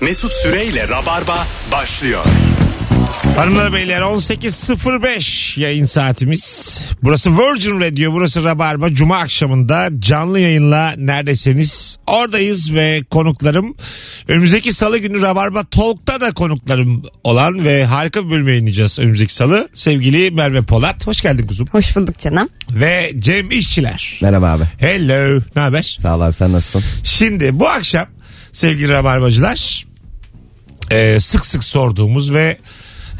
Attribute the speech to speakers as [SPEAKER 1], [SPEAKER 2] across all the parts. [SPEAKER 1] Mesut Süreyle Rabarba başlıyor.
[SPEAKER 2] Hanımlar beyler 18.05 yayın saatimiz. Burası Virgin Radio, burası Rabarba. Cuma akşamında canlı yayınla neredesiniz? Oradayız ve konuklarım önümüzdeki salı günü Rabarba Talk'ta da konuklarım olan ve harika bir bölüm yayınlayacağız önümüzdeki salı. Sevgili Merve Polat, hoş geldin kuzum.
[SPEAKER 3] Hoş bulduk canım.
[SPEAKER 2] Ve Cem İşçiler.
[SPEAKER 4] Merhaba abi.
[SPEAKER 2] Hello, ne haber?
[SPEAKER 4] Sağ ol abi sen nasılsın?
[SPEAKER 2] Şimdi bu akşam sevgili Rabarbacılar e, sık sık sorduğumuz ve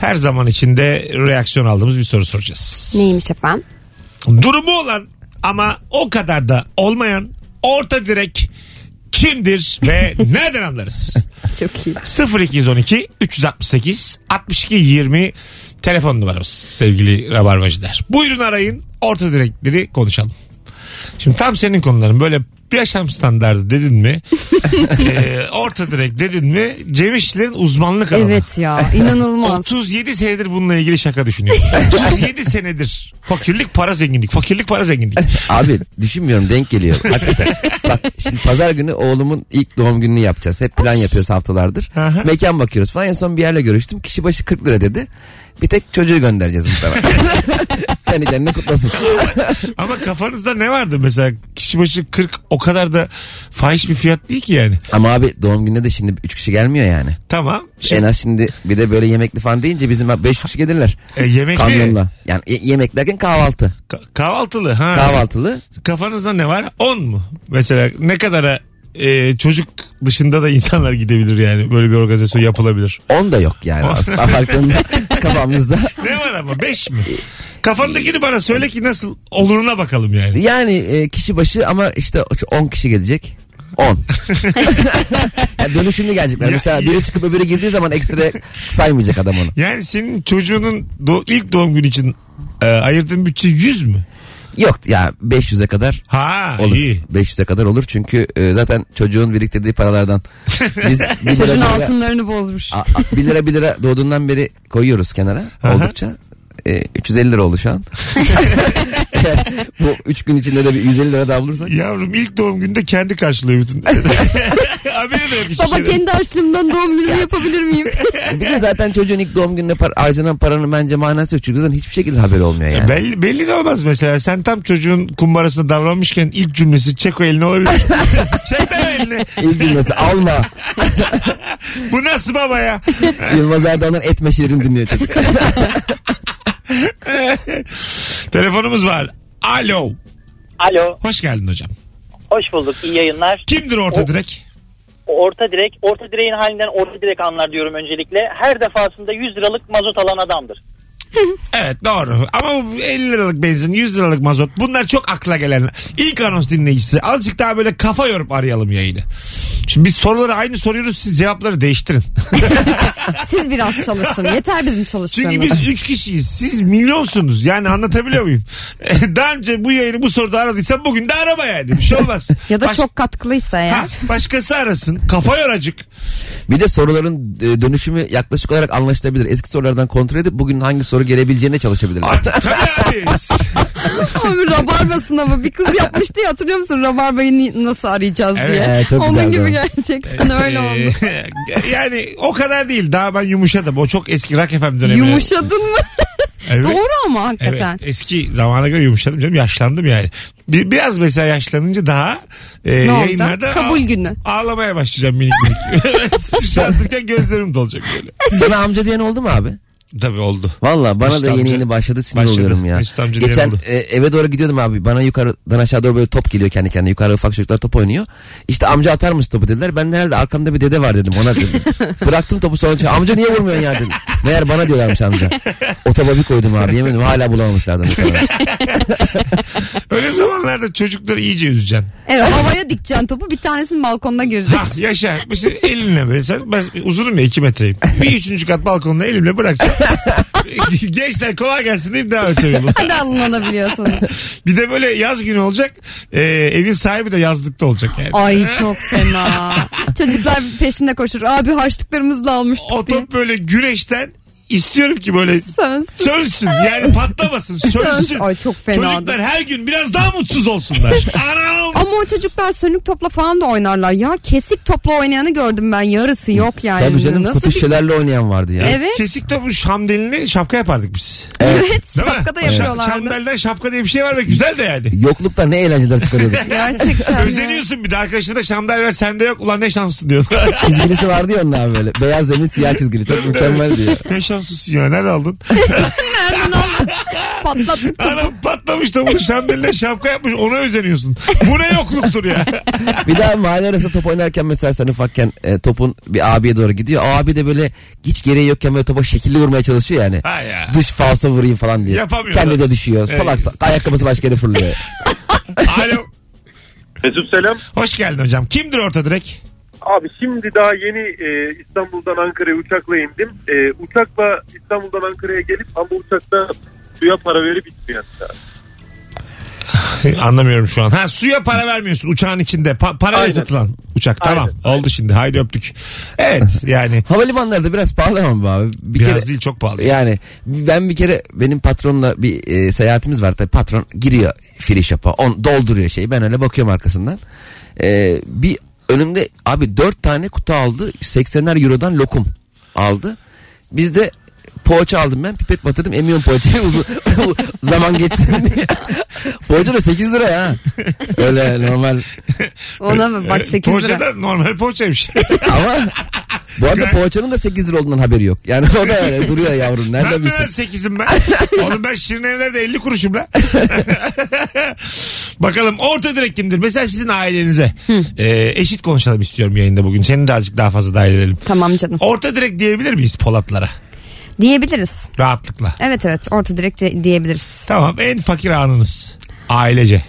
[SPEAKER 2] her zaman içinde reaksiyon aldığımız bir soru soracağız.
[SPEAKER 3] Neymiş efendim?
[SPEAKER 2] Durumu olan ama o kadar da olmayan orta direk kimdir ve nereden anlarız?
[SPEAKER 3] Çok iyi.
[SPEAKER 2] 0212 368 62 20 telefon numaramız sevgili rabarbacılar. Buyurun arayın orta direkleri konuşalım. Şimdi tam senin konuların böyle yaşam standardı dedin mi? eee, orta direk dedin mi? Cem İşçilerin uzmanlık alanı.
[SPEAKER 3] Evet ya inanılmaz.
[SPEAKER 2] 37 senedir bununla ilgili şaka düşünüyorum. 37 senedir. Fakirlik para zenginlik. Fakirlik para zenginlik.
[SPEAKER 4] Abi düşünmüyorum denk geliyor. Hakikaten. Bak şimdi pazar günü oğlumun ilk doğum gününü yapacağız. Hep plan yapıyoruz haftalardır.
[SPEAKER 2] hı.
[SPEAKER 4] Mekan bakıyoruz falan. En son bir yerle görüştüm. Kişi başı 40 lira dedi. Bir tek çocuğu göndereceğiz muhtemelen. Kendi kendine kutlasın.
[SPEAKER 2] Ama kafanızda ne vardı mesela? Kişi başı 40 o kadar da fahiş bir fiyat değil ki yani.
[SPEAKER 4] Ama abi doğum gününe de şimdi 3 kişi gelmiyor yani.
[SPEAKER 2] Tamam. Şimdi
[SPEAKER 4] En az şimdi bir de böyle yemekli falan deyince bizim 5 kişi gelirler.
[SPEAKER 2] E, yemekli-
[SPEAKER 4] Kamyonla. Yani e, yemek derken kahvaltı.
[SPEAKER 2] Ka- kahvaltılı ha.
[SPEAKER 4] Kahvaltılı.
[SPEAKER 2] Kafanızda ne var? 10 mu? Mesela ne kadara e, çocuk dışında da insanlar gidebilir yani. Böyle bir organizasyon yapılabilir.
[SPEAKER 4] 10 da yok yani aslında farkında kafamızda.
[SPEAKER 2] Ne var ama 5 mi? Kafandakini bana söyle ki nasıl oluruna bakalım yani.
[SPEAKER 4] Yani e, kişi başı ama işte 10 kişi gelecek. 10. yani dönüşümlü gelecekler.
[SPEAKER 2] Ya-
[SPEAKER 4] Mesela biri çıkıp öbürü girdiği zaman ekstra saymayacak adam onu.
[SPEAKER 2] Yani senin çocuğunun do- ilk doğum günü için e, ayırdığın bütçe 100 mü?
[SPEAKER 4] Yok ya 500'e kadar
[SPEAKER 2] Ha
[SPEAKER 4] olur.
[SPEAKER 2] iyi.
[SPEAKER 4] 500'e kadar olur çünkü e, zaten çocuğun biriktirdiği paralardan biz 1 lira,
[SPEAKER 3] Çocuğun
[SPEAKER 4] bir lira-
[SPEAKER 3] altınlarını bozmuş.
[SPEAKER 4] A- a- bir lira bir lira doğduğundan beri koyuyoruz kenara
[SPEAKER 2] Aha.
[SPEAKER 4] oldukça. E, 350 lira oldu şu an. Bu 3 gün içinde de bir 150 lira daha bulursak.
[SPEAKER 2] Yavrum ilk doğum günde kendi karşılıyor bütün. Haberi de yok hiçbir
[SPEAKER 3] Baba
[SPEAKER 2] şeyden.
[SPEAKER 3] kendi harçlığımdan doğum günümü yapabilir miyim?
[SPEAKER 4] Bir de zaten çocuğun ilk doğum gününe par- harcanan paranın bence manası yok. Çünkü zaten hiçbir şekilde haber olmuyor yani.
[SPEAKER 2] Belli, belli de olmaz mesela. Sen tam çocuğun kumbarasına davranmışken ilk cümlesi çek o elini olabilir. çek de elini.
[SPEAKER 4] İlk cümlesi alma.
[SPEAKER 2] Bu nasıl baba ya?
[SPEAKER 4] Yılmaz Erdoğan'ın etme şiirini dinliyor çocuk.
[SPEAKER 2] Telefonumuz var. Alo.
[SPEAKER 5] Alo,
[SPEAKER 2] Hoş geldin hocam.
[SPEAKER 5] hoş bulduk. İyi yayınlar.
[SPEAKER 2] Kimdir orta
[SPEAKER 5] O-
[SPEAKER 2] direk?
[SPEAKER 5] Orta direk, orta direğin halinden orta direk anlar diyorum öncelikle. Her defasında 100 liralık mazot alan adamdır.
[SPEAKER 2] Evet doğru. Ama bu 50 liralık benzin, 100 liralık mazot. Bunlar çok akla gelen. İlk anons dinleyicisi. Azıcık daha böyle kafa yorup arayalım yayını. Şimdi biz soruları aynı soruyoruz. Siz cevapları değiştirin.
[SPEAKER 3] Siz biraz çalışın. Yeter bizim
[SPEAKER 2] Çünkü
[SPEAKER 3] çalıştığımız.
[SPEAKER 2] biz 3 kişiyiz. Siz milyonsunuz. Yani anlatabiliyor muyum? Daha önce bu yayını bu soruda aradıysam bugün de arama yani. Bir şey olmaz.
[SPEAKER 3] Ya da
[SPEAKER 2] Baş-
[SPEAKER 3] çok katkılıysa
[SPEAKER 2] Ha,
[SPEAKER 3] ya.
[SPEAKER 2] başkası arasın. Kafa yoracık.
[SPEAKER 4] Bir de soruların e, dönüşümü yaklaşık olarak anlaşılabilir. Eski sorulardan kontrol edip bugün hangi soru gelebileceğine çalışabilirler.
[SPEAKER 2] Artık tabii abi.
[SPEAKER 3] Abi rabarba sınavı. Bir kız yapmıştı ya hatırlıyor musun? Rabarbayı ni- nasıl arayacağız
[SPEAKER 2] Evet.
[SPEAKER 3] diye.
[SPEAKER 4] Evet, çok
[SPEAKER 3] Onun
[SPEAKER 4] güzeldi
[SPEAKER 3] gibi
[SPEAKER 4] o.
[SPEAKER 3] gerçekten öyle oldu.
[SPEAKER 2] Ee, yani o kadar değil. Daha ben yumuşadım. O çok eski Rock FM dönemi.
[SPEAKER 3] Yumuşadın mı?
[SPEAKER 2] Evet.
[SPEAKER 3] Doğru ama
[SPEAKER 2] Evet.
[SPEAKER 3] hakikaten.
[SPEAKER 2] Eski zamana göre yumuşadım canım. Yaşlandım yani. Bir- biraz mesela yaşlanınca daha e,
[SPEAKER 3] Ne olacak?
[SPEAKER 2] yayınlarda
[SPEAKER 3] Kabul
[SPEAKER 2] ağ-
[SPEAKER 3] günü.
[SPEAKER 2] ağlamaya başlayacağım minik minik. Sıçradıktan gözlerim dolacak böyle.
[SPEAKER 4] Sana amca diyen oldu mu abi?
[SPEAKER 2] Tabii oldu.
[SPEAKER 4] Valla bana
[SPEAKER 2] Mesut
[SPEAKER 4] da yeni
[SPEAKER 2] amca-
[SPEAKER 4] yeni başladı sinir
[SPEAKER 2] Başladı.
[SPEAKER 4] oluyorum ya.
[SPEAKER 2] Mesut amca diyen
[SPEAKER 4] Geçen
[SPEAKER 2] oldu.
[SPEAKER 4] e, eve doğru gidiyordum abi. Bana yukarıdan aşağı doğru böyle top geliyor kendi kendine. Yukarı ufak çocuklar top oynuyor. İşte amca atar mısın topu dediler. Ben de herhalde arkamda bir dede var dedim ona dedim. Bıraktım topu sonra şey, amca niye vurmuyorsun ya dedim. Meğer bana diyorlarmış amca. O topa bir koydum abi yemedim hala bulamamışlardı. muhtemelen.
[SPEAKER 2] Öyle zamanlarda çocukları iyice üzeceksin.
[SPEAKER 3] Evet havaya dikeceksin topu bir tanesinin balkonuna girecek.
[SPEAKER 2] Ha yaşa. Bir şey elinle böyle. Sen, ben uzunum ya 2 metreyim. Bir üçüncü kat balkonuna elimle bırakacağım. Gençler kolay gelsin deyip devam edeceğim. yoluma.
[SPEAKER 3] Hadi alınabiliyorsunuz.
[SPEAKER 2] Bir de böyle yaz günü olacak. Ee, evin sahibi de yazlıkta olacak yani.
[SPEAKER 3] Ay çok fena. Çocuklar peşinde koşur. Abi harçlıklarımızla almıştık
[SPEAKER 2] O
[SPEAKER 3] diye.
[SPEAKER 2] top böyle güneşten istiyorum ki böyle
[SPEAKER 3] Sönsün.
[SPEAKER 2] sönsün. Yani patlamasın. Sönsün.
[SPEAKER 3] Ay çok fena.
[SPEAKER 2] Çocuklar her gün biraz daha mutsuz olsunlar. Anam.
[SPEAKER 3] Ama o çocuklar sönük topla falan da oynarlar ya. Kesik topla oynayanı gördüm ben. Yarısı yok yani.
[SPEAKER 4] Tabii canım
[SPEAKER 3] Nasıl
[SPEAKER 4] kutu
[SPEAKER 3] bir...
[SPEAKER 4] şişelerle oynayan vardı ya.
[SPEAKER 3] Evet.
[SPEAKER 2] Kesik topu şamdelini şapka yapardık biz.
[SPEAKER 3] Evet.
[SPEAKER 2] Değil mi?
[SPEAKER 3] Şapka da
[SPEAKER 2] Şa-
[SPEAKER 3] yapıyorlardı.
[SPEAKER 2] Şamdelden şapka diye bir şey var ve güzel de yani.
[SPEAKER 4] Yoklukta ne eğlenceler çıkarıyorduk.
[SPEAKER 3] Gerçekten. ya.
[SPEAKER 2] Özeniyorsun bir de arkadaşına da şamdel ver sende yok ulan ne şanslısın diyor.
[SPEAKER 4] Çizgilisi vardı ya onun abi böyle. Beyaz zemin siyah çizgili. Çok mükemmeldi ya.
[SPEAKER 2] ne şanslısın ya nerede aldın?
[SPEAKER 3] Patlattık.
[SPEAKER 2] Adam patlamış topun şamdeline şapka yapmış ona özeniyorsun. Bu ne yokluktur ya.
[SPEAKER 4] Bir daha mahalle arası top oynarken mesela sen ufakken e, topun bir abiye doğru gidiyor. O abi de böyle hiç gereği yokken böyle topa şekilli vurmaya çalışıyor yani.
[SPEAKER 2] Ha ya.
[SPEAKER 4] Dış falso vurayım falan diye.
[SPEAKER 2] Yapamıyor E,
[SPEAKER 4] Kendi
[SPEAKER 2] da.
[SPEAKER 4] de düşüyor.
[SPEAKER 2] Evet.
[SPEAKER 4] Salak salak. ayakkabısı başka yere fırlıyor.
[SPEAKER 2] Alo.
[SPEAKER 6] Mesut selam.
[SPEAKER 2] Hoş geldin hocam. Kimdir orta direk?
[SPEAKER 6] Abi şimdi daha yeni e, İstanbul'dan Ankara'ya uçakla indim. E, uçakla İstanbul'dan Ankara'ya gelip ama uçakta suya para verip içmeyen.
[SPEAKER 2] Anlamıyorum şu an. Ha suya para vermiyorsun uçağın içinde. Pa- para
[SPEAKER 6] Aynen.
[SPEAKER 2] satılan uçak. Tamam.
[SPEAKER 6] Aynen.
[SPEAKER 2] Oldu şimdi. Haydi öptük. Evet yani.
[SPEAKER 4] Havalimanlarda biraz pahalı ama bu abi. Bir
[SPEAKER 2] Biraz
[SPEAKER 4] kere,
[SPEAKER 2] değil çok pahalı.
[SPEAKER 4] Yani ben bir kere benim patronla bir e, seyahatimiz var tabii patron giriyor free shop'a on, dolduruyor şeyi ben öyle bakıyorum arkasından. E, bir önümde abi dört tane kutu aldı 80'ler eurodan lokum aldı. Biz de poğaça aldım ben pipet batırdım emiyorum poğaçayı uzun zaman geçsin diye. Poğaça da 8 lira ya. Öyle normal
[SPEAKER 3] Ona mı? Bak
[SPEAKER 2] Ee,
[SPEAKER 3] 8 lira.
[SPEAKER 2] Poğaça da normal poğaçaymış.
[SPEAKER 4] ama bu arada poğaçanın da 8 lira olduğundan haberi yok. Yani o da öyle duruyor yavrum nerede
[SPEAKER 2] ben ben
[SPEAKER 4] bilsin.
[SPEAKER 2] 8'im ben. Oğlum ben şirin evlerde 50 kuruşum lan. Bakalım orta direk kimdir? Mesela sizin ailenize. Ee, eşit konuşalım istiyorum yayında bugün. Seni de azıcık daha fazla dahil edelim.
[SPEAKER 3] Tamam canım.
[SPEAKER 2] Orta direk diyebilir miyiz Polatlara?
[SPEAKER 3] Diyebiliriz.
[SPEAKER 2] Rahatlıkla.
[SPEAKER 3] Evet evet orta direkt di- diyebiliriz.
[SPEAKER 2] Tamam en fakir anınız. Ailece.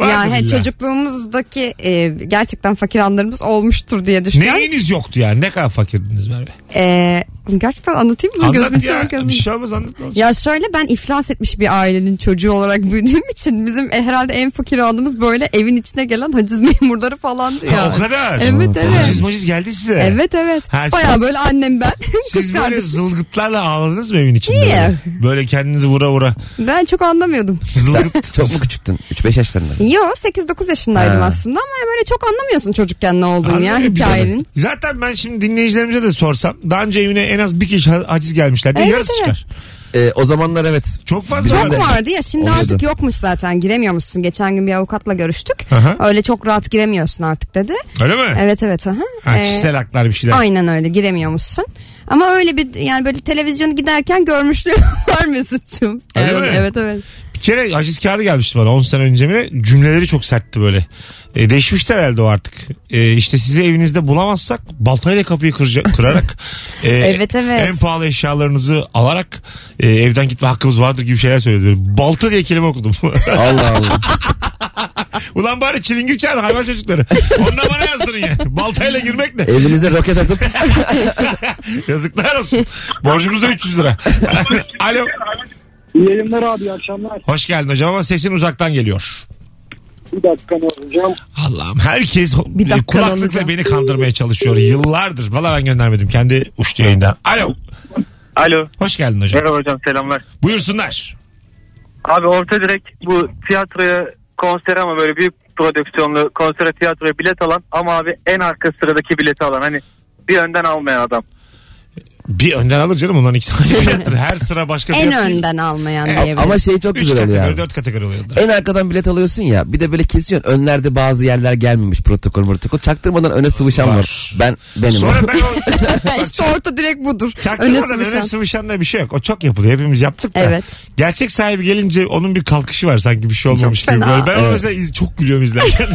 [SPEAKER 2] Vardır
[SPEAKER 3] ya he,
[SPEAKER 2] illa.
[SPEAKER 3] çocukluğumuzdaki e, gerçekten fakir anlarımız olmuştur diye düşünüyorum.
[SPEAKER 2] Neyiniz yoktu yani? Ne kadar fakirdiniz Merve?
[SPEAKER 3] E, gerçekten anlatayım mı? Gözümün
[SPEAKER 2] Anlat ya.
[SPEAKER 3] içine bakıyorsun.
[SPEAKER 2] Bir şey olmaz anlat. ne olacak?
[SPEAKER 3] Ya şöyle ben iflas etmiş bir ailenin çocuğu olarak büyüdüğüm için bizim e, herhalde en fakir anımız böyle evin içine gelen haciz memurları falandı
[SPEAKER 2] Ha,
[SPEAKER 3] ya.
[SPEAKER 2] o kadar.
[SPEAKER 3] Evet
[SPEAKER 2] Maciz
[SPEAKER 3] evet.
[SPEAKER 2] maciz geldi size.
[SPEAKER 3] Evet evet.
[SPEAKER 2] Ha, siz-
[SPEAKER 3] Baya böyle annem ben kız
[SPEAKER 2] şey- Siz böyle
[SPEAKER 3] kardeşim.
[SPEAKER 2] zılgıtlarla ağladınız mı evin içinde?
[SPEAKER 3] Niye?
[SPEAKER 2] Böyle? Böyle kendinizi vura vura.
[SPEAKER 3] Ben çok anlamıyordum.
[SPEAKER 2] Zılgıt.
[SPEAKER 4] Çok mu küçüktün? 3-5 yaşlarında.
[SPEAKER 3] Yo 8-9 yaşındaydım
[SPEAKER 4] Ha.
[SPEAKER 3] aslında ama böyle çok anlamıyorsun çocukken ne olduğunu ya
[SPEAKER 2] Anlamıyorum bir tane.
[SPEAKER 3] hikayenin.
[SPEAKER 2] Zaten ben şimdi dinleyicilerimize de sorsam daha önce evine en az bir kişi ha- haciz gelmişler diye
[SPEAKER 3] Evet,
[SPEAKER 2] yarısı
[SPEAKER 3] evet.
[SPEAKER 2] çıkar.
[SPEAKER 4] Ee, o zamanlar evet.
[SPEAKER 2] Çok fazla
[SPEAKER 4] Bizim
[SPEAKER 2] var.
[SPEAKER 4] de-
[SPEAKER 3] Çok vardı ya şimdi
[SPEAKER 4] Oluyordu.
[SPEAKER 3] artık yokmuş zaten giremiyormuşsun. Geçen gün bir avukatla görüştük.
[SPEAKER 2] Aha.
[SPEAKER 3] Öyle çok rahat giremiyorsun artık dedi.
[SPEAKER 2] Öyle mi?
[SPEAKER 3] Evet evet. Aha.
[SPEAKER 2] Ha,
[SPEAKER 3] Ee,
[SPEAKER 2] kişisel haklar bir şeyler.
[SPEAKER 3] Aynen öyle giremiyormuşsun. Ama öyle bir yani böyle televizyonu giderken görmüşlüğüm var Mesut'cum.
[SPEAKER 2] Öyle
[SPEAKER 3] evet,
[SPEAKER 2] mi?
[SPEAKER 3] evet evet.
[SPEAKER 2] Bir kere haciz kağıdı gelmişti bana 10 sene önce bile cümleleri çok sertti böyle. E, değişmişler herhalde o artık. E, işte sizi evinizde bulamazsak baltayla kapıyı kırca- kırarak e,
[SPEAKER 3] Evet, evet.
[SPEAKER 2] en pahalı eşyalarınızı alarak e, evden gitme hakkımız vardır gibi şeyler söyledi. Böyle Balta diye kelime okudum.
[SPEAKER 4] Allah Allah.
[SPEAKER 2] Ulan bari çilingir çağırın hayvan çocukları. Ondan bana yazdırın yani. Baltayla girmek ne?
[SPEAKER 4] Evinize roket atıp
[SPEAKER 2] Yazıklar olsun. Borcumuz da 300 lira. Alo.
[SPEAKER 7] İyi yayınlar abi iyi akşamlar.
[SPEAKER 2] Hoş geldin hocam ama sesin uzaktan geliyor.
[SPEAKER 7] Bir dakika ne olacağım?
[SPEAKER 2] Allah'ım herkes
[SPEAKER 3] Bir dakika
[SPEAKER 2] kulaklıkla
[SPEAKER 3] alacağım.
[SPEAKER 2] beni kandırmaya çalışıyor yıllardır. Valla ben göndermedim kendi uçtu yayından. Alo.
[SPEAKER 6] Alo.
[SPEAKER 2] Hoş geldin hocam.
[SPEAKER 6] Merhaba hocam selamlar.
[SPEAKER 2] Buyursunlar.
[SPEAKER 6] Abi orta direkt bu tiyatroya konsere ama böyle büyük prodüksiyonlu konsere tiyatroya bilet alan ama abi en arka sıradaki bileti alan hani bir önden almayan adam.
[SPEAKER 2] Bir önden alır canım onların iki tane fiyattır. Her sıra başka
[SPEAKER 3] En
[SPEAKER 2] fiyat değil.
[SPEAKER 3] önden almayan
[SPEAKER 2] Evet.
[SPEAKER 3] diyebiliriz.
[SPEAKER 4] ama şey çok
[SPEAKER 2] Üç
[SPEAKER 4] güzel oluyor.
[SPEAKER 2] kategori
[SPEAKER 4] yani.
[SPEAKER 2] dört kategori oluyor.
[SPEAKER 4] En arkadan bilet alıyorsun ya bir de böyle kesiyorsun önlerde bazı yerler gelmemiş protokol protokol çaktırmadan öne sıvışan var.
[SPEAKER 2] Var.
[SPEAKER 4] Ben benim.
[SPEAKER 2] Sonra ben o
[SPEAKER 3] işte orta direkt budur. Öne
[SPEAKER 2] çaktırmadan öne
[SPEAKER 3] sıvışan.
[SPEAKER 2] sıvışan da bir şey yok. O çok yapılıyor. Hepimiz yaptık da.
[SPEAKER 3] Evet.
[SPEAKER 2] Gerçek sahibi gelince onun bir kalkışı var sanki bir şey olmamış gibi.
[SPEAKER 3] fena.
[SPEAKER 2] Böyle. Ben ona
[SPEAKER 4] Evet.
[SPEAKER 2] mesela iz- çok gülüyorum izlerken.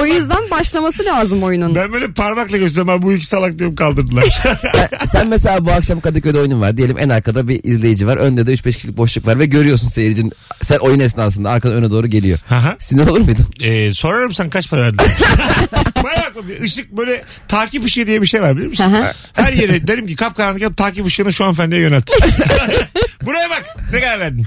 [SPEAKER 3] O yüzden başlaması lazım oyunun.
[SPEAKER 2] ben böyle parmakla gösteriyorum. "Ha, Bu iki salak diyorum kaldırdılar.
[SPEAKER 4] sen, sen mesela bu akşam Kadıköy'de oyunun var. Diyelim en arkada bir izleyici var. Önde de 3-5 kişilik boşluk var ve görüyorsun seyircinin. Sen oyun esnasında arkadan öne doğru geliyor.
[SPEAKER 2] Aha.
[SPEAKER 4] Sinir olur muydun?
[SPEAKER 2] Ee, sorarım sen kaç para verdin? Bayağı komik. Işık böyle takip ışığı diye bir şey var bilir misin?
[SPEAKER 3] Aha.
[SPEAKER 2] Her yere derim ki kapkaranlık yap takip ışığını şu hanımefendiye yönelt. Buraya bak ne kadar verdin.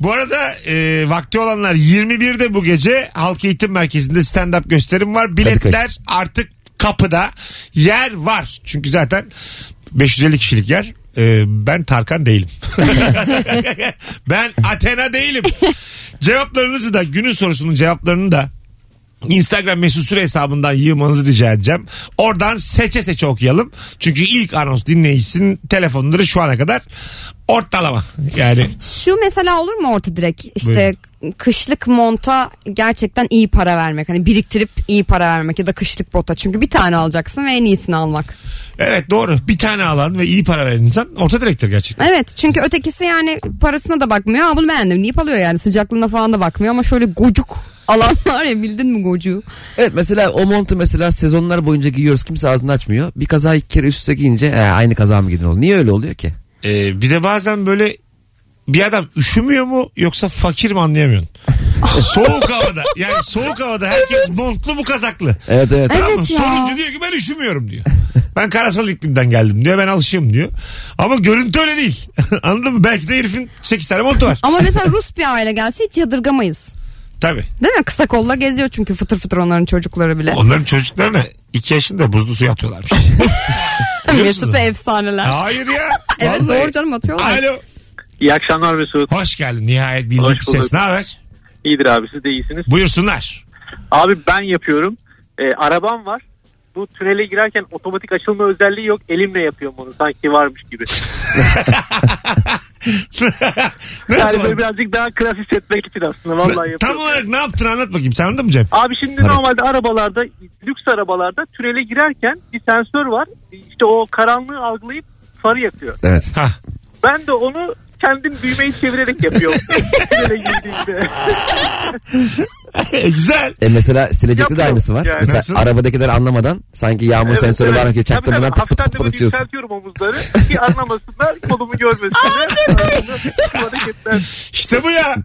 [SPEAKER 2] bu arada e, vakti olanlar 21'de bu gece Halk Eğitim Merkezi'nde stand-up gösterim var. Biletler artık kapıda yer var. Çünkü zaten 550 kişilik yer. Ee, ben Tarkan değilim. ben Athena değilim. Cevaplarınızı da günün sorusunun cevaplarını da Instagram mesut süre hesabından yığmanızı rica edeceğim. Oradan seçe seçe okuyalım. Çünkü ilk anons dinleyicisinin telefonları şu ana kadar ortalama. Yani
[SPEAKER 3] Şu mesela olur mu orta direkt? İşte kışlık monta gerçekten iyi para vermek. Hani biriktirip iyi para vermek ya da kışlık bota. Çünkü bir tane alacaksın ve en iyisini almak.
[SPEAKER 2] evet doğru. Bir tane alan ve iyi para veren insan orta direktör gerçekten.
[SPEAKER 3] Evet çünkü ötekisi yani parasına da bakmıyor. Aa bunu beğendim deyip alıyor yani sıcaklığına falan da bakmıyor. Ama şöyle gocuk alan var ya bildin mi gocuğu?
[SPEAKER 4] Evet mesela o montu mesela sezonlar boyunca giyiyoruz kimse ağzını açmıyor. Bir kaza iki kere üst üste giyince "E, aynı kaza mı giydin oğlum? Niye öyle oluyor ki?
[SPEAKER 2] Ee, bir de bazen böyle bir adam üşümüyor mu yoksa fakir mi anlayamıyorsun. soğuk havada yani soğuk havada herkes montlu bu kazaklı.
[SPEAKER 4] Evet evet.
[SPEAKER 3] Evet.
[SPEAKER 2] Tamam mı?
[SPEAKER 3] ya.
[SPEAKER 2] Sorunca diyor ki ben üşümüyorum diyor. Ben karasal iklimden geldim diyor. Ben alışığım diyor. Ama görüntü öyle değil. Anladın mı? Belki de herifin 8 tane montu var.
[SPEAKER 3] Ama mesela Rus bir aile gelse hiç yadırgamayız.
[SPEAKER 2] Tabii.
[SPEAKER 3] Değil mi? Kısa kolla geziyor çünkü fıtır fıtır onların çocukları bile.
[SPEAKER 2] Onların çocuklarına 2 yaşında buzlu suya atıyorlarmış. Biliyor musunuz?
[SPEAKER 3] Mesut ve efsaneler.
[SPEAKER 2] Hayır ya.
[SPEAKER 3] evet
[SPEAKER 2] Vallahi.
[SPEAKER 3] doğru canım atıyorlar.
[SPEAKER 2] Alo.
[SPEAKER 6] İyi akşamlar Mesut.
[SPEAKER 2] Hoş geldin. Nihayet bildik
[SPEAKER 6] Hoş
[SPEAKER 2] bir ses.
[SPEAKER 6] bulduk.
[SPEAKER 2] Ne haber?
[SPEAKER 6] İyidir abi siz de iyisiniz.
[SPEAKER 2] Buyursunlar.
[SPEAKER 6] Abi ben yapıyorum. Ee, arabam var. Bu tünele girerken otomatik açılma özelliği yok. Elimle yapıyorum onu sanki varmış gibi.
[SPEAKER 2] Nasıl?
[SPEAKER 6] Yani böyle birazcık daha klas hissetmek için aslında vallahi yapıyorum.
[SPEAKER 2] Tam olarak ne yaptın anlat bakayım. Sen anladın mı Cem?
[SPEAKER 6] Abi şimdi
[SPEAKER 4] Hareket.
[SPEAKER 6] normalde arabalarda lüks arabalarda tünele girerken bir sensör var. İşte o karanlığı algılayıp farı yakıyor.
[SPEAKER 4] Evet.
[SPEAKER 2] Ha.
[SPEAKER 6] Ben de onu kendim düğmeyi çevirerek yapıyorum. tünele girdiğimde.
[SPEAKER 2] E, güzel.
[SPEAKER 4] E mesela silecekte de
[SPEAKER 6] Yapıyorum
[SPEAKER 4] aynısı var.
[SPEAKER 6] yani.
[SPEAKER 4] mesela
[SPEAKER 2] Nasıl?
[SPEAKER 4] arabadakiler anlamadan sanki yağmur sensörü var gibi çaktırmadan
[SPEAKER 6] Tabii
[SPEAKER 4] pıt pıt
[SPEAKER 6] tabii,
[SPEAKER 4] pıt
[SPEAKER 6] hafiften de
[SPEAKER 4] pıt atıyorsun.
[SPEAKER 6] böyle yükseltiyorum omuzları ki anlamasınlar kolumu görmesinler. Bu hareketler.
[SPEAKER 2] İşte bu ya.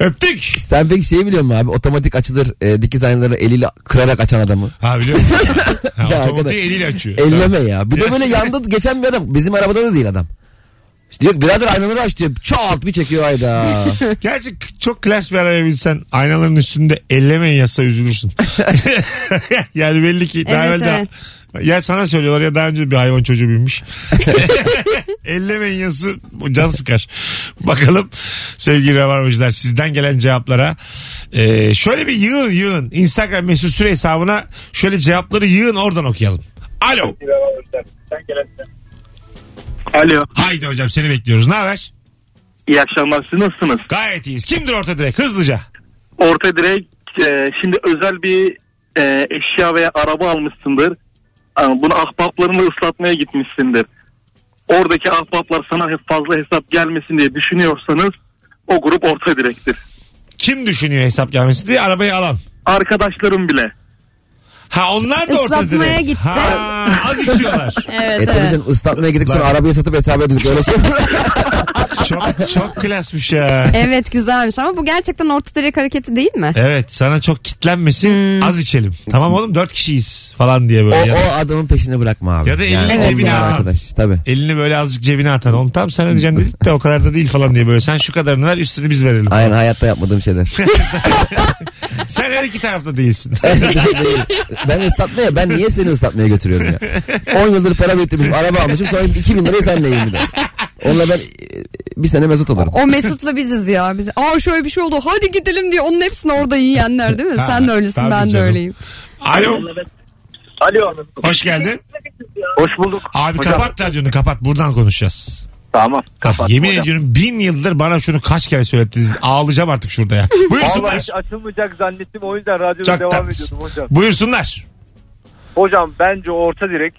[SPEAKER 2] Öptük.
[SPEAKER 4] Sen peki şeyi biliyor musun abi? Otomatik açılır e, dikiz aynaları eliyle kırarak açan adamı.
[SPEAKER 2] Ha biliyor musun? Ha,
[SPEAKER 4] Ya
[SPEAKER 2] otomatiği
[SPEAKER 4] arkadaş.
[SPEAKER 2] eliyle açıyor.
[SPEAKER 4] Elleme ya. Bir de böyle yanda geçen bir adam. Bizim arabada da değil adam. İşte diyor ki birader aynaları aç diyor. Çat bir çekiyor ayda.
[SPEAKER 2] Gerçi k- çok klas bir araya binsen aynaların üstünde ellemeyin yazsa üzülürsün. yani belli ki daha
[SPEAKER 3] Evet,
[SPEAKER 2] evvel daha- Ya sana söylüyorlar ya daha önce bir hayvan çocuğu binmiş. Ellemeyin yazısı bu can sıkar. Bakalım sevgili Rabarbacılar sizden gelen cevaplara. Ee, şöyle bir yığın yığın Instagram mesut süre hesabına şöyle cevapları yığın oradan okuyalım. Alo.
[SPEAKER 6] Alo.
[SPEAKER 2] Haydi hocam seni bekliyoruz. Ne haber?
[SPEAKER 6] İyi akşamlar siz nasılsınız?
[SPEAKER 2] Gayet iyiyiz. Kimdir orta direkt? Hızlıca.
[SPEAKER 6] Orta direk e, şimdi özel bir e, eşya veya araba almışsındır. Ama Bunu ahbaplarını ıslatmaya gitmişsindir. Oradaki ahbaplar sana hep fazla hesap gelmesin diye düşünüyorsanız o grup orta direktir.
[SPEAKER 2] Kim düşünüyor hesap gelmesi diye arabayı alan?
[SPEAKER 6] Arkadaşlarım bile.
[SPEAKER 2] Ha onlar da orta
[SPEAKER 3] Islatmaya
[SPEAKER 2] direkt.
[SPEAKER 3] gitti.
[SPEAKER 2] Ha, az içiyorlar.
[SPEAKER 3] Evet,
[SPEAKER 4] e tabii
[SPEAKER 3] evet.
[SPEAKER 4] canım ıslatmaya gidip sonra
[SPEAKER 2] Lan.
[SPEAKER 4] arabayı satıp hesap edildik. Öyle şey mi?
[SPEAKER 2] çok çok klasmış ya.
[SPEAKER 3] Evet güzelmiş ama bu gerçekten orta direk hareketi değil mi?
[SPEAKER 2] Evet sana çok kitlenmesin
[SPEAKER 3] Hmm.
[SPEAKER 2] az içelim. Tamam oğlum dört kişiyiz falan diye
[SPEAKER 4] o,
[SPEAKER 2] böyle. ya da-
[SPEAKER 4] o adamın peşini bırakma abi.
[SPEAKER 2] Ya da elini
[SPEAKER 4] o
[SPEAKER 2] cebine
[SPEAKER 4] güzel
[SPEAKER 2] al.
[SPEAKER 4] arkadaş. Tabii.
[SPEAKER 2] Elini böyle azıcık cebine atan. Oğlum tamam sen ödeyeceksin dedik de o kadar da değil falan diye böyle. Sen şu kadarını ver üstünü biz verelim.
[SPEAKER 4] Aynen hayatta yapmadığım şeyler.
[SPEAKER 2] Sen her iki tarafta değilsin.
[SPEAKER 4] Değil. ben ıslatmaya ben niye seni ıslatmaya götürüyorum ya? 10 yıldır para biriktirmişim araba almışım sonra 2000 lirayı senle yiyeyim bir de. Onunla ben e, bir sene mezut olurum.
[SPEAKER 3] O Mesut'la biziz ya. Biz, Aa şöyle bir şey oldu hadi gidelim diye onun hepsini orada yiyenler değil mi?
[SPEAKER 2] Ha,
[SPEAKER 3] Sen de öylesin
[SPEAKER 2] tabii
[SPEAKER 3] ben de
[SPEAKER 2] canım.
[SPEAKER 3] öyleyim.
[SPEAKER 2] Alo
[SPEAKER 6] Alo.
[SPEAKER 2] hoş geldin.
[SPEAKER 6] Hoş bulduk.
[SPEAKER 2] Abi
[SPEAKER 6] Hocam.
[SPEAKER 2] kapat radyonu kapat buradan konuşacağız.
[SPEAKER 6] Tamam.
[SPEAKER 2] Kapat, Yemin ediyorum bin yıldır bana şunu kaç kere söylettiniz. Ağlayacağım artık şurada ya.
[SPEAKER 8] Vallahi
[SPEAKER 2] Buyursunlar.
[SPEAKER 8] hiç açılmayacak zannettim o yüzden radyoda
[SPEAKER 2] Çok
[SPEAKER 8] devam
[SPEAKER 2] tatlısın.
[SPEAKER 8] ediyordum hocam.
[SPEAKER 2] Buyursunlar.
[SPEAKER 8] Hocam bence orta direk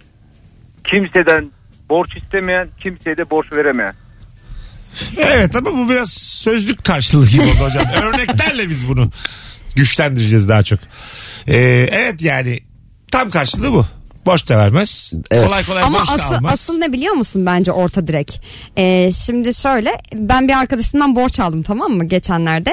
[SPEAKER 8] kimseden borç istemeyen kimseye de borç veremeyen.
[SPEAKER 2] Evet ama bu biraz sözlük karşılığı gibi oldu hocam. Örneklerle biz bunu güçlendireceğiz daha çok. Ee, evet yani tam karşılığı bu. Borç da vermez.
[SPEAKER 4] Evet.
[SPEAKER 2] Kolay kolay
[SPEAKER 3] Ama
[SPEAKER 2] borç da
[SPEAKER 3] asıl,
[SPEAKER 2] almaz.
[SPEAKER 3] asıl ne biliyor musun bence orta direk? Ee, şimdi şöyle ben bir arkadaşımdan borç aldım tamam mı geçenlerde.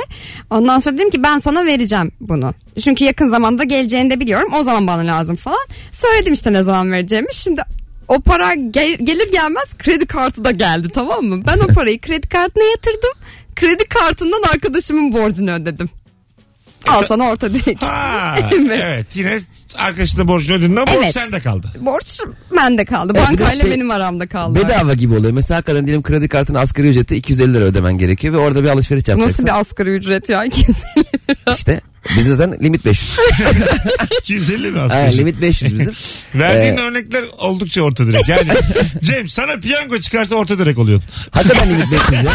[SPEAKER 3] Ondan sonra dedim ki ben sana vereceğim bunu. Çünkü yakın zamanda geleceğini de biliyorum o zaman bana lazım falan. Söyledim işte ne zaman vereceğimi. Şimdi o para gel- gelir gelmez kredi kartı da geldi tamam mı? Ben o parayı kredi kartına yatırdım. Kredi kartından arkadaşımın borcunu ödedim. Al sana orta direk.
[SPEAKER 2] Ha, evet.
[SPEAKER 3] Evet.
[SPEAKER 2] Yine arkadaşına borcunu ödediğinden borç
[SPEAKER 3] Evet.
[SPEAKER 2] sende kaldı.
[SPEAKER 3] Borç bende kaldı.
[SPEAKER 4] Evet, bir de
[SPEAKER 3] Bankayla
[SPEAKER 4] şey-
[SPEAKER 3] benim aramda kaldı.
[SPEAKER 4] Bedava gibi oluyor. Mesela hakikaten diyelim kredi kartının asgari ücreti 250 lira ödemen gerekiyor ve orada bir alışveriş
[SPEAKER 3] Bu
[SPEAKER 4] yapacaksın.
[SPEAKER 3] Nasıl bir asgari ücret ya kimse.
[SPEAKER 4] İşte biz zaten limit 500.
[SPEAKER 2] 250 mi
[SPEAKER 4] ha,
[SPEAKER 2] aslında?
[SPEAKER 4] limit 500 bizim.
[SPEAKER 2] Verdiğin
[SPEAKER 4] Ee,
[SPEAKER 2] örnekler oldukça orta direk. Yani Cem sana piyango çıkarsa orta direk oluyorsun.
[SPEAKER 4] hakikaten limit 500 ya.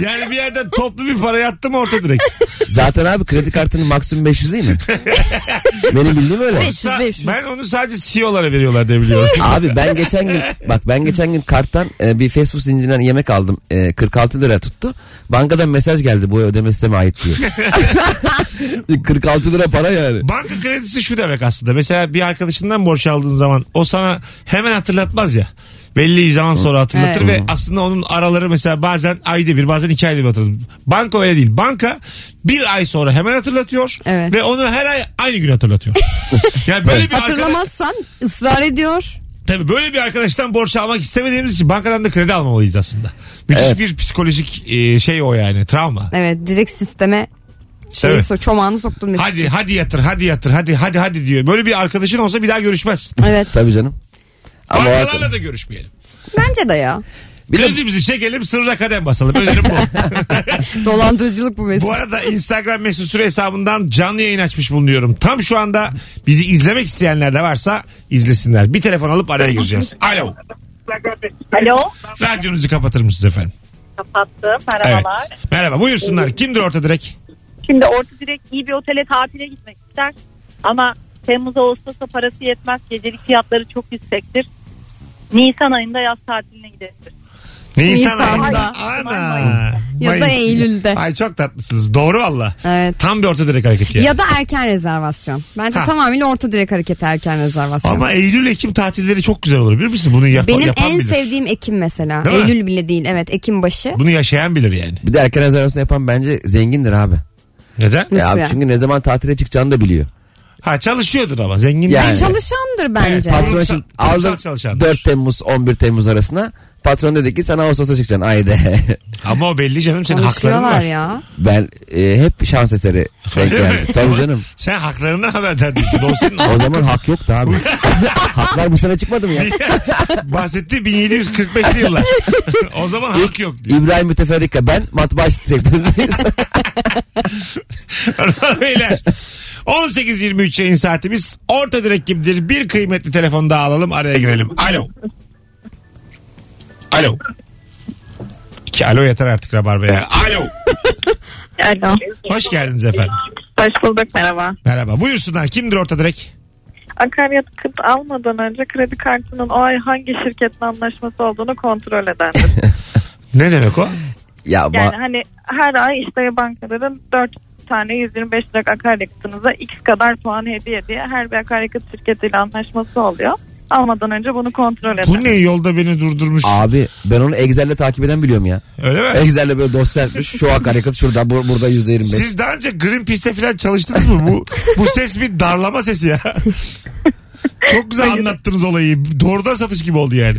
[SPEAKER 2] Yani bir yerden toplu bir para yattı mı orta direk.
[SPEAKER 4] Zaten abi kredi kartının maksimum 500 değil mi? Benim bildiğim öyle.
[SPEAKER 3] 500 500.
[SPEAKER 2] Ben onu sadece CEO'lara veriyorlar diye biliyorum.
[SPEAKER 4] Abi ben geçen gün bak ben geçen gün karttan e, bir fast food zincirinden yemek aldım. E, 46 lira tuttu. Bankadan mesaj geldi bu ödeme sisteme ait diyor. 46 lira para yani.
[SPEAKER 2] Banka kredisi şu demek aslında. Mesela bir arkadaşından borç aldığın zaman o sana hemen hatırlatmaz ya. Belli bir zaman sonra hatırlatır
[SPEAKER 3] Evet.
[SPEAKER 2] ve aslında onun araları mesela bazen ayda bir bazen iki ayda bir hatırlatır. Banka öyle değil. Banka bir ay sonra hemen hatırlatıyor
[SPEAKER 3] Evet.
[SPEAKER 2] ve onu her ay aynı gün hatırlatıyor. yani böyle bir arkadaş,
[SPEAKER 3] Hatırlamazsan ısrar ediyor.
[SPEAKER 2] tabii böyle bir arkadaştan borç almak istemediğimiz için bankadan da kredi almamalıyız aslında. Müthiş
[SPEAKER 4] Evet.
[SPEAKER 2] bir psikolojik e, şey o yani travma.
[SPEAKER 3] Evet direkt sisteme şey
[SPEAKER 2] Evet.
[SPEAKER 3] so- çomağını soktun Mesut'cum.
[SPEAKER 2] Hadi hadi yatır hadi yatır hadi hadi hadi diyor. Böyle bir arkadaşın olsa bir daha görüşmez.
[SPEAKER 3] Evet
[SPEAKER 4] Tabii canım. Ama o-
[SPEAKER 2] Bankalarla da görüşmeyelim.
[SPEAKER 3] bence de ya.
[SPEAKER 4] bir de
[SPEAKER 2] Kredimizi çekelim sırra kadem basalım. Önerim bu.
[SPEAKER 3] Dolandırıcılık bu Mesut.
[SPEAKER 2] bu arada Instagram mesut süre hesabından canlı yayın açmış bulunuyorum. Tam şu anda bizi izlemek isteyenler de varsa izlesinler. Bir telefon alıp araya gireceğiz. Alo.
[SPEAKER 9] Alo.
[SPEAKER 2] Radyonuzu kapatır mısınız efendim?
[SPEAKER 9] Kapattım.
[SPEAKER 2] Evet.
[SPEAKER 9] Merhabalar.
[SPEAKER 2] Merhaba buyursunlar. Kimdir orta direk?
[SPEAKER 9] Şimdi orta direkt iyi bir otele tatile gitmek ister. Ama Temmuz Ağustos'a parası yetmez. Gecelik fiyatları çok yüksektir. Nisan ayında yaz tatiline gidebilir.
[SPEAKER 2] Nisan
[SPEAKER 3] Nisan'da.
[SPEAKER 2] ayında. Ana.
[SPEAKER 3] Ya da
[SPEAKER 2] Mayıs.
[SPEAKER 3] Eylül'de.
[SPEAKER 2] Ay çok tatlısınız. Doğru valla.
[SPEAKER 3] Evet.
[SPEAKER 2] Tam bir orta direk hareketi. yani.
[SPEAKER 3] Ya da erken rezervasyon. Bence
[SPEAKER 2] Ha.
[SPEAKER 3] tamamıyla orta direk hareketi erken rezervasyon.
[SPEAKER 2] Ama Eylül-Ekim tatilleri çok güzel olur. Bilir misin? Bunu yap-
[SPEAKER 3] Benim
[SPEAKER 2] yapan
[SPEAKER 3] en
[SPEAKER 2] bilir.
[SPEAKER 3] sevdiğim Ekim mesela.
[SPEAKER 2] Değil mi?
[SPEAKER 3] Eylül bile değil. Evet Ekim başı.
[SPEAKER 2] Bunu yaşayan bilir yani.
[SPEAKER 4] bir de erken rezervasyon yapan bence zengindir abi.
[SPEAKER 2] Neden?
[SPEAKER 4] Ya
[SPEAKER 3] Nasıl
[SPEAKER 4] abi
[SPEAKER 3] yani?
[SPEAKER 4] çünkü ne zaman tatile çıkacağını da biliyor.
[SPEAKER 2] Ha çalışıyordur ama zengin
[SPEAKER 4] Yani.
[SPEAKER 2] değil.
[SPEAKER 3] Çalışandır bence.
[SPEAKER 2] Evet,
[SPEAKER 4] Patron
[SPEAKER 2] Kurumsal-
[SPEAKER 4] şimdi aldın
[SPEAKER 2] kurumsal çalışanlar.
[SPEAKER 4] 4 Temmuz 11 Temmuz arasına. Patron dedi ki sana Ağustos'a çıkacaksın. Ayde.
[SPEAKER 2] Ama o belli canım senin hakların
[SPEAKER 3] Konuşuyorlar
[SPEAKER 2] var.
[SPEAKER 3] ya.
[SPEAKER 4] ben e, hep şans eseri denk
[SPEAKER 2] Öyle mi?
[SPEAKER 4] geldim. Tabii canım.
[SPEAKER 2] Sen haklarından haberdar değilsin. O senin
[SPEAKER 4] O zaman hak yoktu abi. Haklar bu sene çıkmadı mı ya?
[SPEAKER 2] bahsetti 1745'li yıllar. o zaman hak yok diyor.
[SPEAKER 4] İbrahim Müteferrika ben matbaa sektöründeyiz.
[SPEAKER 2] Hanımlar, Beyler 18.23 yayın saatimiz orta direk gibidir. Bir kıymetli telefon daha alalım araya girelim. Alo. Alo. İki alo yeter artık Rabarba'ya. Alo.
[SPEAKER 9] Alo.
[SPEAKER 2] Hoş geldiniz efendim.
[SPEAKER 9] Hoş bulduk. Merhaba.
[SPEAKER 2] Merhaba. Buyursunlar. Kimdir orta direk?
[SPEAKER 9] Akaryakıt almadan önce kredi kartının o ay hangi şirketle anlaşması olduğunu kontrol edendir.
[SPEAKER 2] Ne demek o?
[SPEAKER 4] ya ma-
[SPEAKER 9] Yani hani her ay işte bankaların 4 tane 125 lira akaryakıtınıza x kadar puan hediye diye her bir akaryakıt şirketiyle anlaşması oluyor. Almadan önce bunu kontrol edin.
[SPEAKER 2] Bu ne yolda beni durdurmuş.
[SPEAKER 4] abi ben onu Excel'le takip eden biliyorum ya.
[SPEAKER 2] Öyle mi?
[SPEAKER 4] Excel'le böyle dosya yapmış. Şu akaryakıt şurada bu, burada yüzde yirmi beş.
[SPEAKER 2] Siz daha önce Greenpeace'te falan çalıştınız mı? Bu bu ses bir darlama sesi ya. Çok güzel anlattınız olayı. Doğrudan satış gibi oldu yani.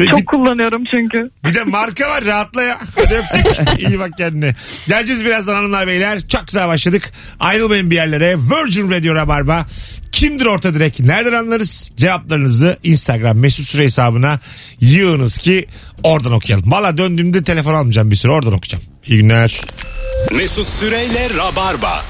[SPEAKER 2] Ve
[SPEAKER 9] Çok kullanıyorum çünkü.
[SPEAKER 2] bir, bir de marka var rahatla ya. Hadi öptük. İyi bak kendine. Geleceğiz birazdan hanımlar beyler. Çok güzel başladık. Ayrılmayın bir yerlere. Virgin Radio Rabarba. Kimdir orta direk? Nereden anlarız? Cevaplarınızı Instagram mesut süre hesabına yığınız ki oradan okuyalım. Valla döndüğümde telefon almayacağım bir süre oradan okuyacağım. İyi günler.
[SPEAKER 1] Mesut Süreyle Rabarba.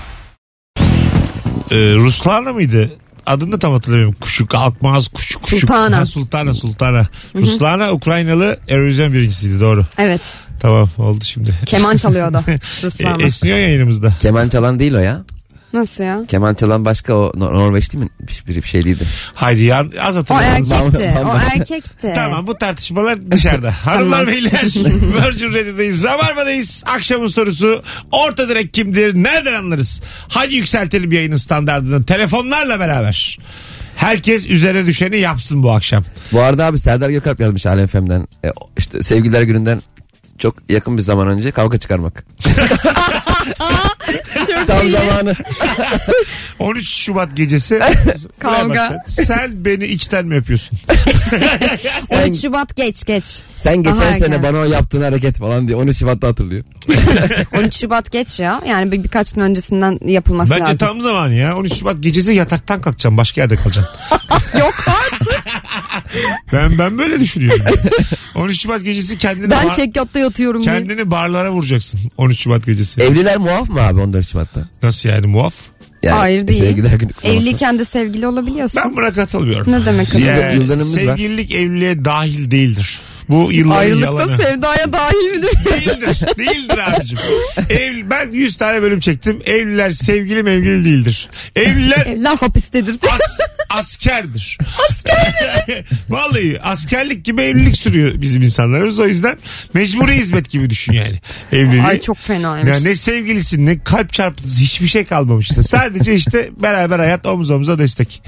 [SPEAKER 2] e, Ruslana mıydı? Adını da tam hatırlamıyorum. Kuşu kalkmaz kuşu kuşu.
[SPEAKER 3] Sultana.
[SPEAKER 2] Ha, Sultana Sultana. Ruslana Ukraynalı Eurovision birincisiydi doğru.
[SPEAKER 3] Evet.
[SPEAKER 2] Tamam oldu şimdi.
[SPEAKER 3] Keman çalıyordu.
[SPEAKER 2] E,
[SPEAKER 3] Ruslan'la.
[SPEAKER 2] esniyor yayınımızda.
[SPEAKER 4] Keman çalan değil o ya.
[SPEAKER 3] Nasıl ya?
[SPEAKER 4] Keman çalan başka o Nor- Norveç değil mi? Bir, bir şey değildi.
[SPEAKER 2] Haydi ya az
[SPEAKER 3] O
[SPEAKER 2] hatırlayalım.
[SPEAKER 3] erkekti.
[SPEAKER 4] Bam-
[SPEAKER 3] O
[SPEAKER 4] bam-
[SPEAKER 3] erkekti.
[SPEAKER 2] Tamam bu tartışmalar dışarıda. Hanımlar beyler Virgin Radio'dayız. Rabarba'dayız. Akşamın sorusu orta direk kimdir? Nereden anlarız? Hadi yükseltelim yayının standartını. Telefonlarla beraber. Herkes üzerine düşeni yapsın bu akşam.
[SPEAKER 4] Bu arada abi Serdar Gökalp yazmış Alem Fem'den. E, o- işte sevgililer gününden çok yakın bir zaman önce kavga çıkarmak.
[SPEAKER 3] Çok
[SPEAKER 4] Tam
[SPEAKER 3] iyi.
[SPEAKER 4] zamanı.
[SPEAKER 2] 13 Şubat gecesi.
[SPEAKER 3] Kavga.
[SPEAKER 2] Ulan bak Sen, sen beni içten mi öpüyorsun?
[SPEAKER 3] 13 Şubat geç geç.
[SPEAKER 4] Sen geçen
[SPEAKER 3] Daha
[SPEAKER 4] sene
[SPEAKER 3] erken.
[SPEAKER 4] bana o yaptığın hareket falan diye 13 Şubat'ta hatırlıyor.
[SPEAKER 3] 13 Şubat geç ya. Yani bir, birkaç gün öncesinden yapılması
[SPEAKER 2] Bence
[SPEAKER 3] lazım.
[SPEAKER 2] tam zamanı ya. 13 Şubat gecesi yataktan kalkacağım. Başka yerde kalacağım.
[SPEAKER 3] Yok artık.
[SPEAKER 2] Ben ben böyle düşünüyorum. 13 Şubat gecesi kendini
[SPEAKER 3] Ben
[SPEAKER 2] bar-
[SPEAKER 3] çekyatta yatıyorum diye.
[SPEAKER 2] kendini barlara vuracaksın. 13 Şubat gecesi.
[SPEAKER 4] Evliler muaf mı abi 14 Şubat'ta?
[SPEAKER 2] Nasıl yani muaf?
[SPEAKER 4] Yani
[SPEAKER 3] Hayır değil.
[SPEAKER 4] Sevgiler günü kutlamak.
[SPEAKER 3] Evliyken de sevgili olabiliyorsun.
[SPEAKER 2] Ben buna katılmıyorum.
[SPEAKER 3] Ne demek
[SPEAKER 4] Yılda-
[SPEAKER 2] Yani
[SPEAKER 4] yıldanımız var.
[SPEAKER 2] sevgililik evliliğe dahil değildir. Bu yılların yalanı.
[SPEAKER 3] Ayrılıkta sevdaya dahil midir?
[SPEAKER 2] değildir. Değildir abicim. Ev, ben 100 tane bölüm çektim. Evliler sevgili mevgili değildir. Evliler
[SPEAKER 3] Evler hapistedir. diyor.
[SPEAKER 2] as, askerdir. Asker Vallahi askerlik gibi evlilik sürüyor bizim insanlarımız. O yüzden mecburi hizmet gibi düşün yani. Evliliği.
[SPEAKER 3] Ay çok fenaymış.
[SPEAKER 2] Ya ne sevgilisin ne kalp çarpıntısı hiçbir şey kalmamıştı. Sadece işte beraber hayat omuz omuza destek.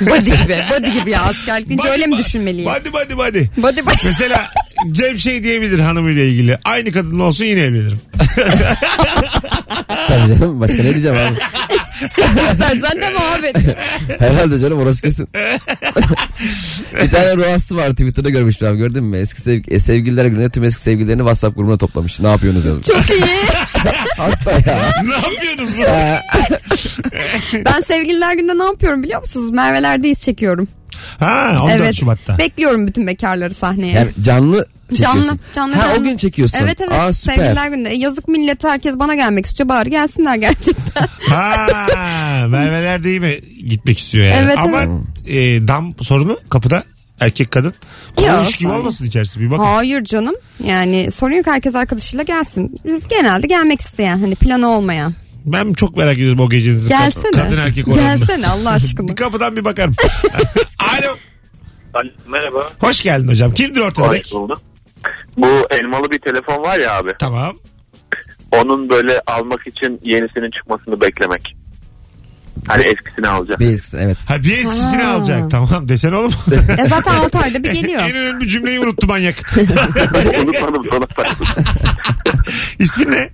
[SPEAKER 3] Body gibi. Body gibi ya askerlik deyince öyle mi düşünmeliyim?
[SPEAKER 2] Hadi hadi hadi.
[SPEAKER 3] Body body.
[SPEAKER 2] Mesela Cem şey diyebilir hanımıyla ilgili. Aynı kadın olsun yine evlenirim.
[SPEAKER 4] Tabii canım başka ne diyeceğim abi.
[SPEAKER 3] İstersen de muhabbet.
[SPEAKER 4] Herhalde canım orası kesin. bir tane ruhası var Twitter'da görmüştüm abi gördün mü? Eski sev e, sevgililer gününe tüm eski sevgililerini WhatsApp grubuna toplamış. Ne yapıyorsunuz yazmış.
[SPEAKER 3] Çok iyi.
[SPEAKER 4] Hasta ya. Ee,
[SPEAKER 2] ne yapıyorsunuz? bu?
[SPEAKER 3] Ben sevgililer günde ne yapıyorum biliyor musunuz? Merve'lerdeyiz çekiyorum.
[SPEAKER 2] Ha 14
[SPEAKER 3] evet.
[SPEAKER 2] Şubat'ta.
[SPEAKER 3] Bekliyorum bütün bekarları sahneye.
[SPEAKER 4] Yani canlı çekiyorsun.
[SPEAKER 3] Canlı, canlı,
[SPEAKER 4] ha,
[SPEAKER 3] canlı.
[SPEAKER 4] o gün çekiyorsun.
[SPEAKER 3] Evet evet
[SPEAKER 4] Aa, süper.
[SPEAKER 3] sevgililer günde. E, Yazık millet herkes bana gelmek istiyor. Bari gelsinler gerçekten.
[SPEAKER 2] Ha Merve'ler değil mi gitmek istiyor yani.
[SPEAKER 3] Evet,
[SPEAKER 2] Ama e, dam sorunu kapıda erkek kadın.
[SPEAKER 3] Ya,
[SPEAKER 2] Konuş gibi
[SPEAKER 3] sorun.
[SPEAKER 2] olmasın içerisi bir bakın.
[SPEAKER 3] Hayır canım. Yani sorun yok herkes arkadaşıyla gelsin. Biz genelde gelmek isteyen hani planı olmayan.
[SPEAKER 2] Ben çok merak ediyorum o gecenin.
[SPEAKER 3] Gelsene.
[SPEAKER 2] Kadın erkek oranını.
[SPEAKER 3] Gelsene Allah aşkına.
[SPEAKER 2] Bir kapıdan bir bakarım. Alo.
[SPEAKER 6] Merhaba.
[SPEAKER 2] Hoş geldin hocam. Kimdir ortadaki?
[SPEAKER 6] Bu elmalı bir telefon var ya abi.
[SPEAKER 2] Tamam.
[SPEAKER 6] Onun böyle almak için yenisinin çıkmasını beklemek. Hani eskisini alacak.
[SPEAKER 4] Bir eskisi, evet.
[SPEAKER 2] Ha bir eskisini
[SPEAKER 3] Ha.
[SPEAKER 2] alacak. Tamam desene oğlum.
[SPEAKER 3] E zaten 6 ayda bir
[SPEAKER 2] en
[SPEAKER 3] geliyor.
[SPEAKER 2] önemli cümleyi unuttu manyak.
[SPEAKER 6] Hani Unutmadım sana sakladım.
[SPEAKER 2] İsmin ne?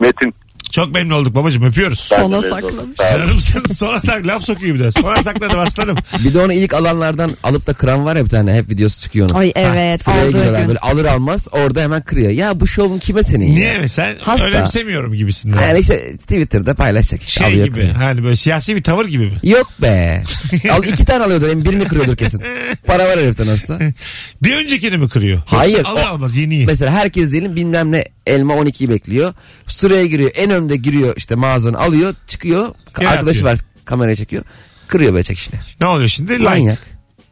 [SPEAKER 6] Metin.
[SPEAKER 2] Çok memnun olduk babacığım öpüyoruz.
[SPEAKER 6] ben de
[SPEAKER 3] Sona
[SPEAKER 6] mezun
[SPEAKER 3] saklamış.
[SPEAKER 6] oldum. Sağ olun.
[SPEAKER 2] Canımsın sonra tak laf sokuyor bir de. Sonra sakladım aslanım.
[SPEAKER 4] Bir de onu ilk alanlardan alıp da kıran var ya bir tane. Hep videosu çıkıyor onun.
[SPEAKER 3] Ay evet
[SPEAKER 4] Sıraya
[SPEAKER 3] aldığı
[SPEAKER 4] gidiyorlar
[SPEAKER 3] gün.
[SPEAKER 4] böyle alır almaz orada hemen kırıyor. Ya bu şovun kime senin ya?
[SPEAKER 2] Niye mi sen?
[SPEAKER 4] Hasta.
[SPEAKER 2] Önemsemiyorum gibisinden.
[SPEAKER 4] Yani işte Twitter'da paylaşacak. Işte,
[SPEAKER 2] şey
[SPEAKER 4] alıyor,
[SPEAKER 2] gibi.
[SPEAKER 4] kırıyor.
[SPEAKER 2] Hani böyle siyasi bir tavır gibi mi?
[SPEAKER 4] Yok be. Al iki tane alıyordur. hem birini kırıyordur kesin. Para var heriften aslında.
[SPEAKER 2] Bir öncekini mi kırıyor? Yoksa
[SPEAKER 4] Hayır, e,
[SPEAKER 2] Alır
[SPEAKER 4] o-
[SPEAKER 2] almaz yeniyi.
[SPEAKER 4] Mesela herkes diyelim bilmem ne elma 12'yi bekliyor. Sıraya giriyor. En önde giriyor işte mağazanı alıyor. Çıkıyor.
[SPEAKER 2] Yere
[SPEAKER 4] arkadaşı
[SPEAKER 2] atıyor.
[SPEAKER 4] var kameraya çekiyor. Kırıyor böyle çekişle.
[SPEAKER 2] Ne oluyor şimdi? Like.
[SPEAKER 4] Manyak.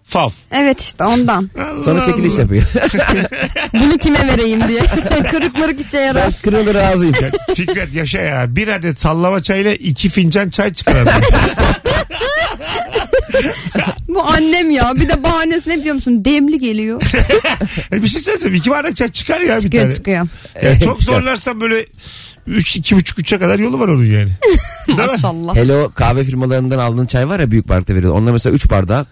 [SPEAKER 2] Fav.
[SPEAKER 3] Evet işte ondan.
[SPEAKER 2] Allah
[SPEAKER 4] Sonra çekiliş
[SPEAKER 2] Allah.
[SPEAKER 4] yapıyor.
[SPEAKER 3] Bunu kime vereyim diye. Kırık mırık işe yarar.
[SPEAKER 4] Kırılır razıyım.
[SPEAKER 2] Fikret yaşa ya. Bir adet sallama çayla iki fincan çay çıkarır.
[SPEAKER 3] Bu annem ya. Bir de bahanesi ne biliyor musun? Demli geliyor.
[SPEAKER 2] E bir şey söyleyeceğim. İki bardak çay çıkar ya bir
[SPEAKER 3] Çıkıyor
[SPEAKER 2] tane.
[SPEAKER 3] çıkıyor.
[SPEAKER 2] Ya çok zorlarsan böyle üç, iki buçuk, üçe kadar yolu var onun yani. Değil mi?
[SPEAKER 3] Maşallah.
[SPEAKER 4] Hello kahve firmalarından aldığın çay var ya büyük bardakta veriyor. Onda mesela 3 bardağı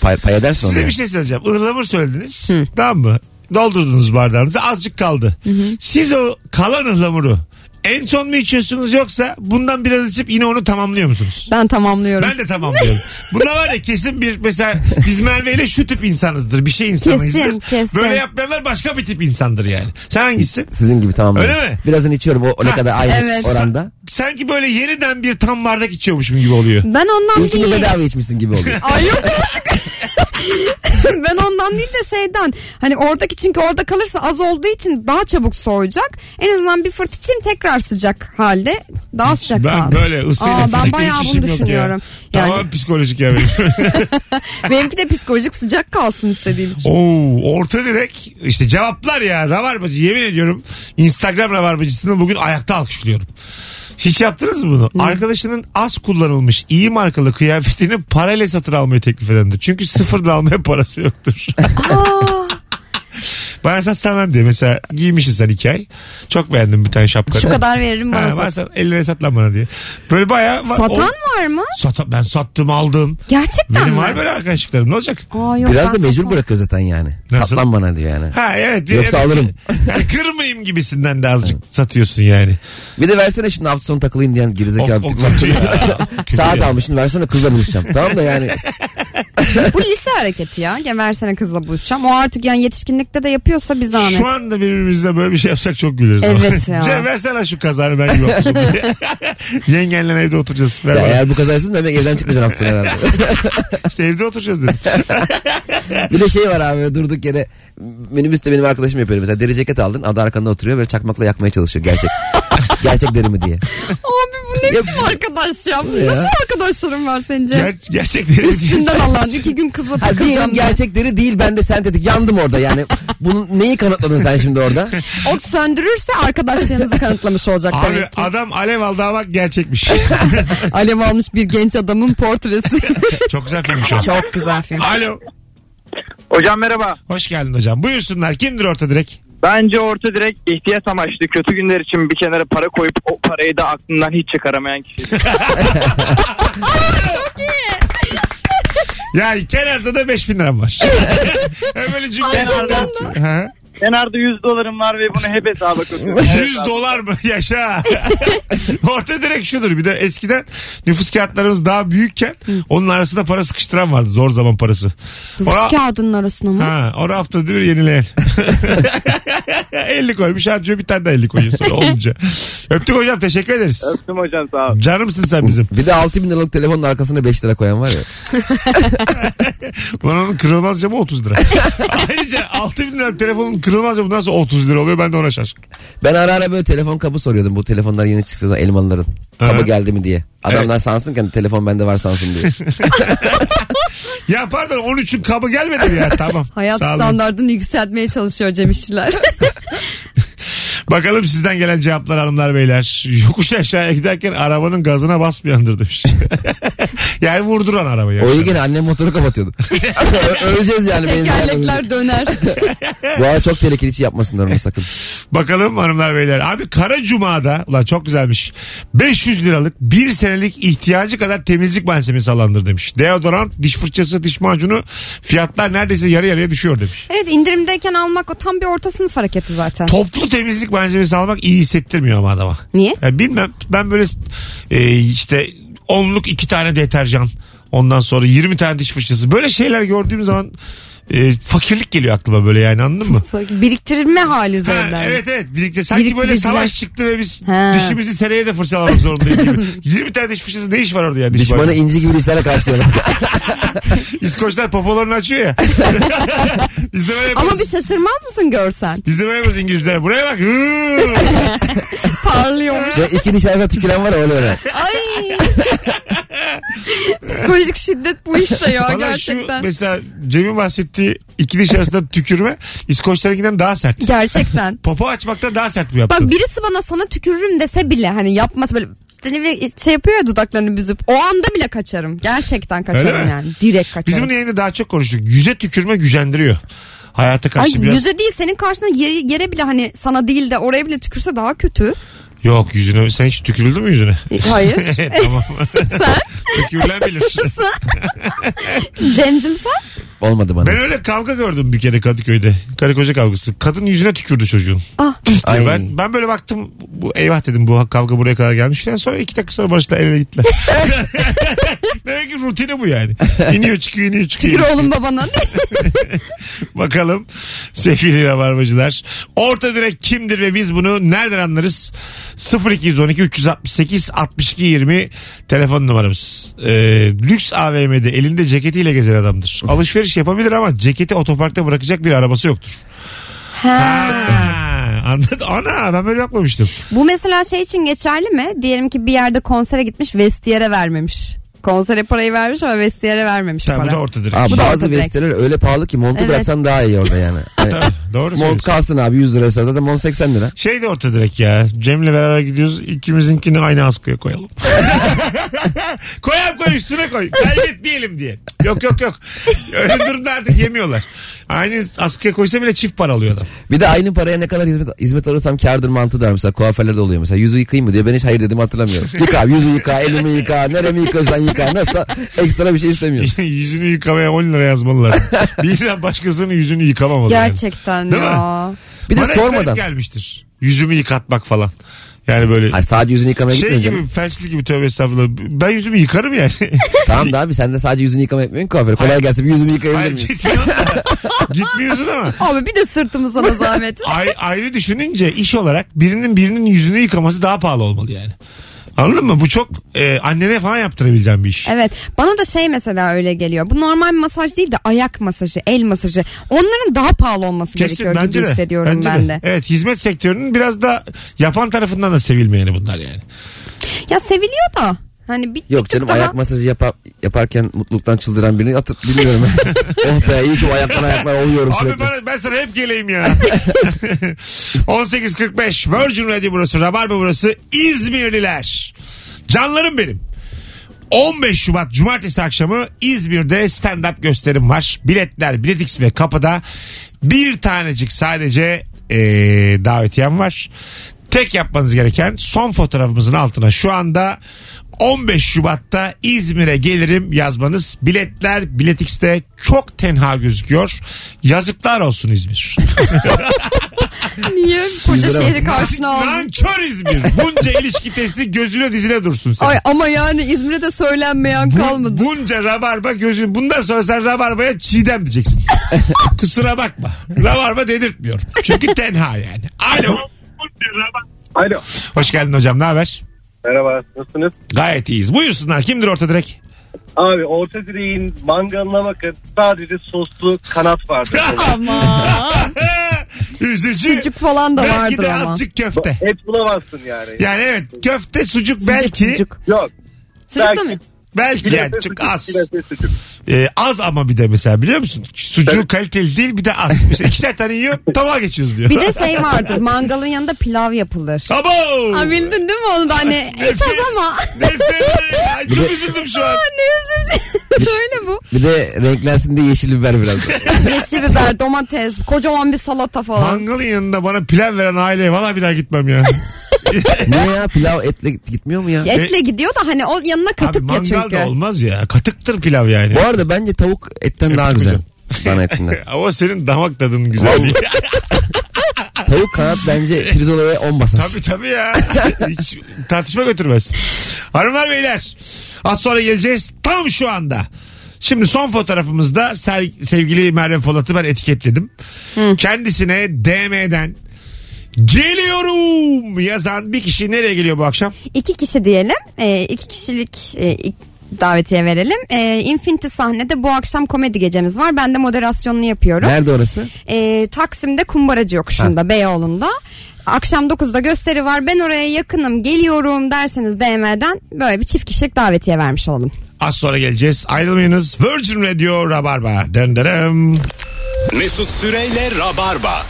[SPEAKER 4] pay, pay edersin onu.
[SPEAKER 2] Size bir şey söyleyeceğim. Ihlamur söylediniz. Tamam mı? Doldurdunuz bardağınızı. Azıcık kaldı. Siz o kalan ıhlamuru en son mu içiyorsunuz yoksa bundan biraz içip yine onu tamamlıyor musunuz?
[SPEAKER 3] Ben tamamlıyorum.
[SPEAKER 2] Ben de tamamlıyorum. Buna var ya kesin bir mesela biz Merve ile şu tip insanızdır. Bir şey insanıyızdır.
[SPEAKER 3] Kesin, kesin.
[SPEAKER 2] Böyle yapmayanlar başka bir tip insandır yani. Sen hangisisin?
[SPEAKER 4] Sizin gibi tamam.
[SPEAKER 2] Öyle mi?
[SPEAKER 4] Birazını içiyorum o, o ne
[SPEAKER 2] Ha,
[SPEAKER 4] kadar aynı
[SPEAKER 3] evet.
[SPEAKER 4] oranda.
[SPEAKER 2] Sanki böyle yeniden bir tam bardak içiyormuşum gibi oluyor.
[SPEAKER 3] Ben ondan
[SPEAKER 4] İlkini
[SPEAKER 3] değil.
[SPEAKER 4] bedava içmişsin gibi oluyor.
[SPEAKER 3] Ay yok artık. ben ondan değil de şeyden. Hani oradaki çünkü orada kalırsa az olduğu için daha çabuk soğuyacak. En azından bir fırt içeyim tekrar sıcak halde. Daha sıcak
[SPEAKER 2] Ben
[SPEAKER 3] kalsın.
[SPEAKER 2] böyle ısıyla
[SPEAKER 3] Aa, ben
[SPEAKER 2] fizikle
[SPEAKER 3] bayağı
[SPEAKER 2] hiç işim
[SPEAKER 3] bunu
[SPEAKER 2] yok ya.
[SPEAKER 3] düşünüyorum. Yani
[SPEAKER 2] Tamam psikolojik ya benim.
[SPEAKER 3] benimki de psikolojik sıcak kalsın istediğim için.
[SPEAKER 2] Oo, orta direk işte cevaplar ya Rabarbacı yemin ediyorum Instagram Rabarbacısını bugün ayakta alkışlıyorum. Hiç yaptınız mı bunu? Arkadaşının az kullanılmış iyi markalı kıyafetini parayla satın almayı teklif edendir. Çünkü sıfırdan almaya parası yoktur.
[SPEAKER 3] Aa,
[SPEAKER 2] Bana satsan diye mesela giymişsin sen iki ay. Çok beğendim bir tane şapkanı.
[SPEAKER 3] Şu kadar veririm
[SPEAKER 2] Ha,
[SPEAKER 3] bana
[SPEAKER 2] bana
[SPEAKER 3] sat.
[SPEAKER 2] sat, ellere sat lan bana diye. Böyle bayağı. va-
[SPEAKER 3] Satan
[SPEAKER 2] o-
[SPEAKER 3] var mı?
[SPEAKER 2] Sata- ben sattım aldım.
[SPEAKER 3] Gerçekten
[SPEAKER 2] Benim
[SPEAKER 3] mi?
[SPEAKER 2] var böyle arkadaşlıklarım ne olacak?
[SPEAKER 3] Aa, yok, ben
[SPEAKER 4] Biraz da
[SPEAKER 3] satmam.
[SPEAKER 4] mecbur bırakıyor zaten yani.
[SPEAKER 2] Nasıl?
[SPEAKER 4] Satlan bana diyor yani.
[SPEAKER 2] Ha evet.
[SPEAKER 4] Yoksa alırım.
[SPEAKER 2] Yani kırmayayım gibisinden de azıcık satıyorsun yani.
[SPEAKER 4] Bir de versene şimdi hafta sonu takılayım diyen
[SPEAKER 2] O-
[SPEAKER 4] gerizekalı
[SPEAKER 2] o
[SPEAKER 4] tip var.
[SPEAKER 2] kötü ya. Kötü
[SPEAKER 4] Saat
[SPEAKER 2] ya.
[SPEAKER 4] almış şimdi versene kızla buluşacağım. tamam da yani
[SPEAKER 3] Bu lise hareketi ya. Gel versene kızla buluşacağım. O artık yani yetişkinlikte de yapıyorsa bir zahmet.
[SPEAKER 2] Şu anda birbirimizle böyle bir şey yapsak çok güleriz.
[SPEAKER 3] Evet ya.
[SPEAKER 2] Cem versene lan şu kazanı ben gibi olsun diye. Yengenle evde oturacağız. Ver
[SPEAKER 4] ya
[SPEAKER 2] bana.
[SPEAKER 4] eğer bu kazaysın demek evden çıkmayacaksın hafta sonu herhalde.
[SPEAKER 2] İşte evde oturacağız dedim.
[SPEAKER 4] bir de şey var abi durduk yere minibüste benim arkadaşım yapıyor. Mesela deri ceket aldın adı arkanda oturuyor böyle çakmakla yakmaya çalışıyor gerçek. gerçek deri mi diye.
[SPEAKER 3] Abi bu ne biçim arkadaş ya?
[SPEAKER 4] Ya.
[SPEAKER 3] Nasıl arkadaşlarım var sence?
[SPEAKER 2] Ger gerçekleri
[SPEAKER 3] Üstünden alan iki gün kızla
[SPEAKER 4] Ha, diyelim
[SPEAKER 3] takılacağım.
[SPEAKER 4] gerçek deri değil ben de sentetik yandım orada yani. Bunun neyi kanıtladın sen şimdi orada?
[SPEAKER 3] O söndürürse arkadaşlarınızı kanıtlamış olacak
[SPEAKER 2] Abi
[SPEAKER 3] demek ki.
[SPEAKER 2] adam alev aldı ama gerçekmiş.
[SPEAKER 3] Alev almış bir genç adamın portresi.
[SPEAKER 2] Çok güzel filmmiş o.
[SPEAKER 3] Çok güzel film.
[SPEAKER 2] Alo.
[SPEAKER 8] Hocam merhaba.
[SPEAKER 2] Hoş geldin hocam. Buyursunlar. Kimdir orta direk?
[SPEAKER 8] Bence orta direkt ihtiyaç amaçlı kötü günler için bir kenara para koyup o parayı da aklından hiç çıkaramayan kişi.
[SPEAKER 2] Yani kenarda da 5000 liram var. Hem böyle cümle.
[SPEAKER 8] Kenarda,
[SPEAKER 2] Ha?
[SPEAKER 8] kenarda 100 dolarım var ve bunu hep hesaba koyuyorum.
[SPEAKER 2] 100 dolar mı? Yaşa. Orta direkt şudur. Bir de eskiden nüfus kağıtlarımız daha büyükken onun arasında para sıkıştıran vardı. Zor zaman parası. Ona-
[SPEAKER 3] Nüfus kağıdının arasına mı?
[SPEAKER 2] Ha, ona hafta bir yenileyen. 50 koymuş harcıyor bir tane daha 50 koyuyor sonra olunca. Öptük hocam teşekkür ederiz.
[SPEAKER 8] Öptüm hocam sağ ol.
[SPEAKER 2] Canımsın sen bizim.
[SPEAKER 4] Bir de 6000 liralık telefonun arkasına 5 lira koyan var ya.
[SPEAKER 2] Bunun kırılmaz camı 30 lira. Ayrıca 6 bin lira telefonun kırılmaz camı nasıl 30 lira oluyor ben de ona şaşırdım.
[SPEAKER 4] Ben ara ara böyle telefon kabı soruyordum. Bu telefonlar yeni çıksa da elmalıların. Kabı
[SPEAKER 2] Aha.
[SPEAKER 4] geldi mi diye. Adamlar sansın ki hani telefon bende var sansın diye.
[SPEAKER 2] Ya pardon 13'ün kabı gelmedi mi ya tamam.
[SPEAKER 3] Hayat
[SPEAKER 2] Sağ olun.
[SPEAKER 3] standartını yükseltmeye çalışıyor Cem İşçiler.
[SPEAKER 2] Bakalım sizden gelen cevaplar hanımlar beyler. Yokuş aşağıya giderken arabanın gazına basmayandır demiş. yani vurduran arabayı.
[SPEAKER 4] o iyi gene annem motoru kapatıyordu. Ö- Öleceğiz yani. benzin
[SPEAKER 3] Tekerlekler döner.
[SPEAKER 4] almayınca. Bu ara çok tehlikeli hiç yapmasınlar onu sakın.
[SPEAKER 2] Bakalım hanımlar beyler. Abi Kara Cuma'da ulan çok güzelmiş. 500 liralık bir senelik ihtiyacı kadar temizlik malzemesi alandır demiş. Deodorant, diş fırçası, diş macunu fiyatlar neredeyse yarı yarıya düşüyor demiş.
[SPEAKER 3] Evet indirimdeyken almak o tam bir orta sınıf hareketi zaten.
[SPEAKER 2] Toplu temizlik malzemesi almak iyi hissettirmiyor ama adama.
[SPEAKER 3] Niye?
[SPEAKER 2] Ya bilmem ben böyle e, işte onluk iki tane deterjan ondan sonra 20 tane diş fırçası böyle şeyler gördüğüm zaman e, fakirlik geliyor aklıma böyle yani anladın mı?
[SPEAKER 3] Biriktirme hali
[SPEAKER 2] Ha,
[SPEAKER 3] üzerinden.
[SPEAKER 2] evet evet birlikte sanki böyle
[SPEAKER 3] Biriktiriciler.
[SPEAKER 2] savaş çıktı ve biz
[SPEAKER 3] Ha.
[SPEAKER 2] dişimizi seneye de fırçalamak zorundayız gibi. 20 tane diş fırçası ne iş var orada yani? Diş
[SPEAKER 4] Düşmanı
[SPEAKER 2] macunu?
[SPEAKER 4] inci gibi lislerle karşılayalım.
[SPEAKER 2] İskoçlar popolarını açıyor ya. biz de böyle yaparız.
[SPEAKER 3] Ama bir şaşırmaz mısın görsen?
[SPEAKER 2] Biz de böyle yaparız İngilizlere. Buraya bak. Hı.
[SPEAKER 3] Parlıyormuş.
[SPEAKER 4] Ve iki diş arasında tüküren var ya, öyle öyle.
[SPEAKER 3] Ay. Psikolojik şiddet bu işte ya
[SPEAKER 2] Valla şu
[SPEAKER 3] gerçekten.
[SPEAKER 2] mesela Cem'in bahsettiği iki diş arasında tükürme İskoçlarınkinden daha sert.
[SPEAKER 3] Gerçekten.
[SPEAKER 2] Popo açmakta daha sert bu
[SPEAKER 3] Bak
[SPEAKER 2] yaptın.
[SPEAKER 3] birisi bana sana tükürürüm dese bile hani yapmaz böyle hani bir şey yapıyor ya dudaklarını büzüp o anda bile kaçarım. Gerçekten
[SPEAKER 2] Öyle
[SPEAKER 3] kaçarım
[SPEAKER 2] mi?
[SPEAKER 3] yani. Direkt
[SPEAKER 2] Biz
[SPEAKER 3] kaçarım.
[SPEAKER 2] bunu yayında daha çok konuştuk. Yüze tükürme gücendiriyor. Hayata
[SPEAKER 3] Ay
[SPEAKER 2] karşı biraz.
[SPEAKER 3] yüze değil senin karşına yere, yere bile hani sana değil de oraya bile tükürse daha kötü.
[SPEAKER 2] Yok yüzüne. Sen hiç tükürüldün mü yüzüne?
[SPEAKER 3] E, Hayır.
[SPEAKER 2] tamam. Tükürülen bilir.
[SPEAKER 3] Cemcim sen?
[SPEAKER 4] Olmadı bana.
[SPEAKER 2] Ben öyle kavga gördüm bir kere Kadıköy'de. Karı koca kavgası. Kadın yüzüne tükürdü çocuğun.
[SPEAKER 3] Ah.
[SPEAKER 4] Ay.
[SPEAKER 2] Ben ben böyle baktım bu eyvah dedim bu kavga buraya kadar gelmiş falan. Sonra iki dakika sonra Barış'la el ele gittiler. Demek ki rutini bu yani. İniyor çıkıyor iniyor çıkıyor.
[SPEAKER 3] Tükür oğlum babana.
[SPEAKER 2] Bakalım sevgili rabarbacılar. Orta direk kimdir ve biz bunu nereden anlarız? 0212 368 62 20 telefon numaramız. Ee, lüks AVM'de elinde ceketiyle gezer adamdır. Alışveriş yapabilir ama ceketi otoparkta bırakacak bir arabası yoktur.
[SPEAKER 3] ha.
[SPEAKER 2] Ha, Anladım. Ana ben böyle bakmamıştım.
[SPEAKER 3] Bu mesela şey için geçerli mi? Diyelim ki bir yerde konsere gitmiş vestiyere vermemiş. Konsere parayı vermiş ama vestiyere vermemiş
[SPEAKER 2] Tamam, bu
[SPEAKER 3] para.
[SPEAKER 2] da orta direk.
[SPEAKER 4] Aa,
[SPEAKER 3] Bu da
[SPEAKER 4] bazı
[SPEAKER 3] orta direkt.
[SPEAKER 4] vestiler öyle pahalı ki montu
[SPEAKER 3] Evet.
[SPEAKER 4] bıraksan daha iyi orada yani. Hani
[SPEAKER 2] Doğru
[SPEAKER 4] mont
[SPEAKER 2] söylüyorsun.
[SPEAKER 4] kalsın abi 100 lira zaten mont 80 lira.
[SPEAKER 2] Şey de orta direk ya. Cem'le beraber gidiyoruz. İkimizinkini aynı askıya koyalım. koyalım koy üstüne koy. Kaybetmeyelim diye. Yok yok yok. Öyle durumda artık yemiyorlar. Aynı askıya koysa bile çift para alıyor adam.
[SPEAKER 4] Bir de aynı paraya ne kadar hizmet, hizmet alırsam kârdır mantığı da var. Mesela kuaförlerde oluyor mesela. Yüzü yıkayayım mı diyor. Ben hiç hayır dedim hatırlamıyorum. Yıka yüzü yıka elimi yıka neremi yıkıyorsan yıka. Nasıl ekstra bir şey istemiyorum.
[SPEAKER 2] yüzünü yıkamaya 10 lira yazmalılar. bir insan başkasının yüzünü yıkamamalı. yani.
[SPEAKER 3] Gerçekten
[SPEAKER 2] Değil mi?
[SPEAKER 3] ya.
[SPEAKER 4] Bir de
[SPEAKER 2] Bana hep garip
[SPEAKER 4] sormadan.
[SPEAKER 2] gelmiştir. Yüzümü yıkatmak falan. Yani böyle
[SPEAKER 4] Hayır sadece yüzünü yıkamaya
[SPEAKER 2] şey
[SPEAKER 4] gitmiyor
[SPEAKER 2] gibi
[SPEAKER 4] canım.
[SPEAKER 2] felçli gibi tövbe estağfurullah. Ben yüzümü yıkarım yani.
[SPEAKER 4] Tamam da abi sen de sadece yüzünü yıkama yapmıyorsun kuaför. Kolay gelsin bir yüzümü yıkayabilir
[SPEAKER 2] Hayır,
[SPEAKER 4] miyim?
[SPEAKER 2] gitmiyorsun da. Gitmiyorsun ama.
[SPEAKER 3] Abi bir de sırtımıza da zahmet.
[SPEAKER 2] Ay- ayrı düşününce iş olarak birinin birinin yüzünü yıkaması daha pahalı olmalı yani. Anladın mı? Bu çok e, annene falan yaptırabileceğim bir iş.
[SPEAKER 3] Evet bana da şey mesela öyle geliyor. Bu normal masaj değil de ayak masajı, el masajı. Onların daha pahalı olması gerekiyor gibi hissediyorum
[SPEAKER 2] bence
[SPEAKER 3] ben de.
[SPEAKER 2] Evet hizmet sektörünün biraz da yapan tarafından da sevilmeyeni bunlar yani.
[SPEAKER 3] Ya seviliyor da. Hani bir, bir
[SPEAKER 4] Yok
[SPEAKER 3] tık
[SPEAKER 4] canım
[SPEAKER 3] daha...
[SPEAKER 4] ayak masajı yapa- yaparken mutluluktan çıldıran birini atıp bilmiyorum. oh be iyi ki bu ayaktan ayaklara oluyorum
[SPEAKER 2] Abi
[SPEAKER 4] sürekli.
[SPEAKER 2] bana, ben sana hep geleyim ya. 18.45 Virgin Radio burası. Rabarba burası. İzmirliler. Canlarım benim. 15 Şubat Cumartesi akşamı İzmir'de stand-up gösterim var. Biletler Biletix ve kapıda bir tanecik sadece eee davetiyem var. Tek yapmanız gereken son fotoğrafımızın altına şu anda 15 Şubat'ta İzmir'e gelirim yazmanız. Biletler Biletix'te çok tenha gözüküyor. Yazıklar olsun İzmir.
[SPEAKER 3] Niye koca
[SPEAKER 4] Yüzüne bak.
[SPEAKER 3] şehri karşına aldın?
[SPEAKER 2] Nankör İzmir. Bunca ilişki testi gözüne dizine dursun senin.
[SPEAKER 3] Ay ama yani İzmir'e de söylenmeyen
[SPEAKER 2] Bu-
[SPEAKER 3] kalmadı.
[SPEAKER 2] Bunca rabarba gözün. Bundan sonra sen rabarbaya çiğdem diyeceksin. Kusura bakma. Rabarba dedirtmiyor. Çünkü tenha yani. Alo.
[SPEAKER 8] Alo.
[SPEAKER 2] Hoş geldin hocam. Ne haber?
[SPEAKER 8] Merhaba nasılsınız?
[SPEAKER 2] Gayet iyiyiz. Buyursunlar. Kimdir orta direk?
[SPEAKER 8] Abi orta direğin mangalına bakın sadece soslu kanat vardı.
[SPEAKER 3] Ama
[SPEAKER 2] Üzücü.
[SPEAKER 3] sucuk falan da
[SPEAKER 2] Belki
[SPEAKER 3] vardır
[SPEAKER 2] de
[SPEAKER 3] ama.
[SPEAKER 2] azıcık köfte.
[SPEAKER 8] Et bulamazsın yani.
[SPEAKER 2] Yani evet köfte sucuk,
[SPEAKER 3] Sucuk,
[SPEAKER 2] belki
[SPEAKER 3] sucuk.
[SPEAKER 8] Yok.
[SPEAKER 3] Sucuk da
[SPEAKER 8] Belki.
[SPEAKER 3] mı?
[SPEAKER 2] belki yani
[SPEAKER 8] Bilese
[SPEAKER 2] çok
[SPEAKER 8] sucuk,
[SPEAKER 2] az.
[SPEAKER 8] bilese sucuk.
[SPEAKER 2] Ee, az ama bir de mesela biliyor musun? Sucuğu kaliteli değil bir de az. Mesela ikişer tane yiyor tavuğa geçiyoruz diyor.
[SPEAKER 3] Bir de şey vardır mangalın yanında pilav yapılır.
[SPEAKER 2] Abo!
[SPEAKER 3] Ha bildin değil mi onu da hani et az ama.
[SPEAKER 2] Nefret. Ay,
[SPEAKER 4] Bir
[SPEAKER 2] çok
[SPEAKER 4] de-
[SPEAKER 2] üzüldüm şu an.
[SPEAKER 3] ne üzücü. Böyle bu.
[SPEAKER 4] Bir de renklensin diye yeşil biber biraz.
[SPEAKER 3] Yeşil biber, domates, kocaman bir salata falan.
[SPEAKER 2] Mangalın yanında bana pilav veren aileye valla bir daha gitmem ya.
[SPEAKER 4] Niye ya pilav etle gitmiyor mu ya?
[SPEAKER 3] Etle gidiyor da hani o yanına
[SPEAKER 2] e- Abi
[SPEAKER 3] katık ya
[SPEAKER 2] mangal da
[SPEAKER 3] çünkü.
[SPEAKER 2] olmaz ya. Katıktır pilav yani.
[SPEAKER 4] Bu arada bence tavuk etten daha güzel. Bana etinden.
[SPEAKER 2] Ama senin damak tadın güzel değil.
[SPEAKER 4] Tavuk kanat bence pirzolaya 10 basar.
[SPEAKER 2] tabii tabii ya. Hiç tartışma götürmez. Hanımlar beyler az sonra geleceğiz tam şu anda. Şimdi son fotoğrafımızda ser- sevgili Merve Polat'ı ben etiketledim. Kendisine DM'den geliyorum yazan bir kişi nereye geliyor bu akşam?
[SPEAKER 3] İki kişi diyelim. E, iki kişilik e, ik- davetiye verelim. E, Infinity sahnede bu akşam komedi gecemiz var. Ben de moderasyonunu yapıyorum.
[SPEAKER 4] Nerede orası?
[SPEAKER 3] E, Taksim'de kumbaracı yokuşunda Beyoğlu'nda. Akşam 9'da gösteri var. Ben oraya yakınım geliyorum derseniz DM'den böyle bir çift kişilik davetiye vermiş oldum.
[SPEAKER 2] Az sonra geleceğiz. Ayrılmayınız. Virgin Radio Rabarba. Dön dönem.
[SPEAKER 1] Mesut Süreyle Rabarba.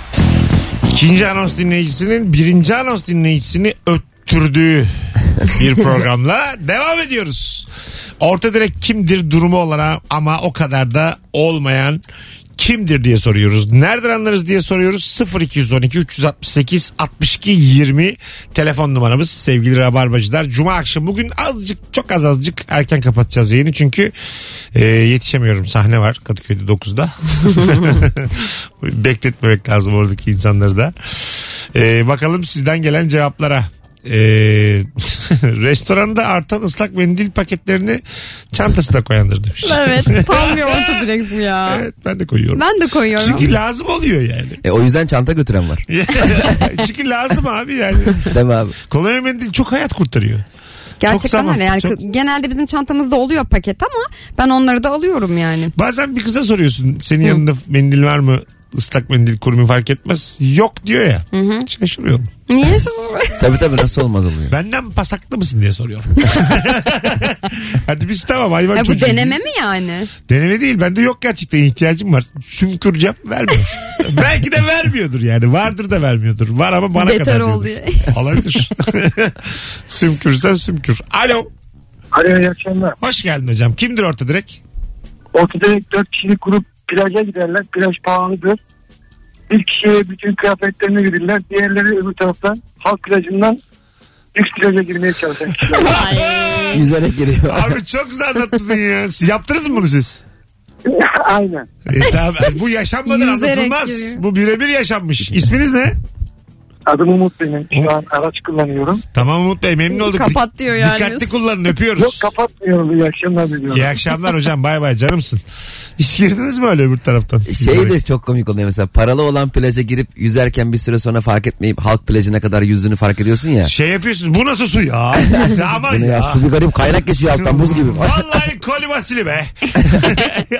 [SPEAKER 2] İkinci anons dinleyicisinin birinci anons dinleyicisini öttürdüğü bir programla devam ediyoruz. Orta direkt kimdir durumu olana ama o kadar da olmayan kimdir diye soruyoruz. Nereden anlarız diye soruyoruz. 0212 368 62 20 telefon numaramız sevgili Rabarbacılar. Cuma akşamı bugün azıcık çok az azıcık erken kapatacağız yayını çünkü e, yetişemiyorum. Sahne var Kadıköy'de 9'da. Bekletmemek lazım oradaki insanları da. E, bakalım sizden gelen cevaplara. E, restoranda artan ıslak mendil paketlerini çantasına koyandır demiş.
[SPEAKER 3] Evet tam bir orta direkt bu ya.
[SPEAKER 2] Evet ben de koyuyorum.
[SPEAKER 3] Ben de koyuyorum.
[SPEAKER 2] Çünkü lazım oluyor yani.
[SPEAKER 4] E, o yüzden çanta götüren var.
[SPEAKER 2] Çünkü lazım abi yani.
[SPEAKER 4] Değil mi abi?
[SPEAKER 2] Kolonya mendil çok hayat kurtarıyor.
[SPEAKER 3] Gerçekten
[SPEAKER 2] zaman,
[SPEAKER 3] öyle yani
[SPEAKER 2] çok-
[SPEAKER 3] Kı- genelde bizim çantamızda oluyor paket ama ben onları da alıyorum yani.
[SPEAKER 2] Bazen bir kıza soruyorsun senin yanında mendil var mı? Islak mendil kurumu fark etmez. Yok diyor ya. Şaşırıyorum.
[SPEAKER 3] Niye şunu?
[SPEAKER 4] Tabii tabii nasıl olmaz oluyor.
[SPEAKER 2] Benden pasaklı mısın diye soruyorum. Hadi biz tamam hayvan
[SPEAKER 3] ya bu
[SPEAKER 2] çocuğu
[SPEAKER 3] deneme
[SPEAKER 2] değiliz.
[SPEAKER 3] mi yani?
[SPEAKER 2] Deneme değil. Bende yok gerçekten ihtiyacım var. Sümküreceğim vermiyor. Belki de vermiyordur yani. Vardır da vermiyordur. Var ama bana
[SPEAKER 3] Beter
[SPEAKER 2] kadar diyordur.
[SPEAKER 3] ol diye.
[SPEAKER 2] Olabilir. Sümkürsen sümkür. Alo.
[SPEAKER 7] Alo iyi akşamlar.
[SPEAKER 2] Hoş geldin hocam. Kimdir orta direkt?
[SPEAKER 7] Ortada 4 kişilik grup plaja giderler. Plaj pahalıdır. Bir kişiye bütün kıyafetlerini verirler. Diğerleri öbür taraftan halk plajından lüks plaja girmeye çalışan kişiler.
[SPEAKER 4] Yüzerek geliyor.
[SPEAKER 2] Abi çok güzel anlattın ya. Siz yaptınız mı bunu siz?
[SPEAKER 7] Aynen.
[SPEAKER 2] E, tamam, bu yaşanmadan
[SPEAKER 10] Yüzerek
[SPEAKER 2] anlatılmaz.
[SPEAKER 10] giriyor.
[SPEAKER 2] Bu birebir yaşanmış. İsminiz ne?
[SPEAKER 7] Adım Umut benim. Şu an araç kullanıyorum.
[SPEAKER 2] Tamam Umut Bey memnun olduk.
[SPEAKER 10] Kapat diyor yani.
[SPEAKER 2] Dikkatli kullanın öpüyoruz.
[SPEAKER 7] Yok kapatmıyorum. İyi akşamlar diliyorum.
[SPEAKER 2] İyi akşamlar hocam bay bay canımsın. Hiç girdiniz mi öyle öbür taraftan?
[SPEAKER 4] Şey de çok komik oluyor mesela paralı olan plaja girip yüzerken bir süre sonra fark etmeyip halk plajına kadar yüzdüğünü fark ediyorsun ya.
[SPEAKER 2] Şey yapıyorsunuz bu nasıl su ya? Ya Aman
[SPEAKER 4] Bunu ya
[SPEAKER 2] ya.
[SPEAKER 4] su bir garip kaynak geçiyor alttan buz gibi.
[SPEAKER 2] Vallahi koli basili be.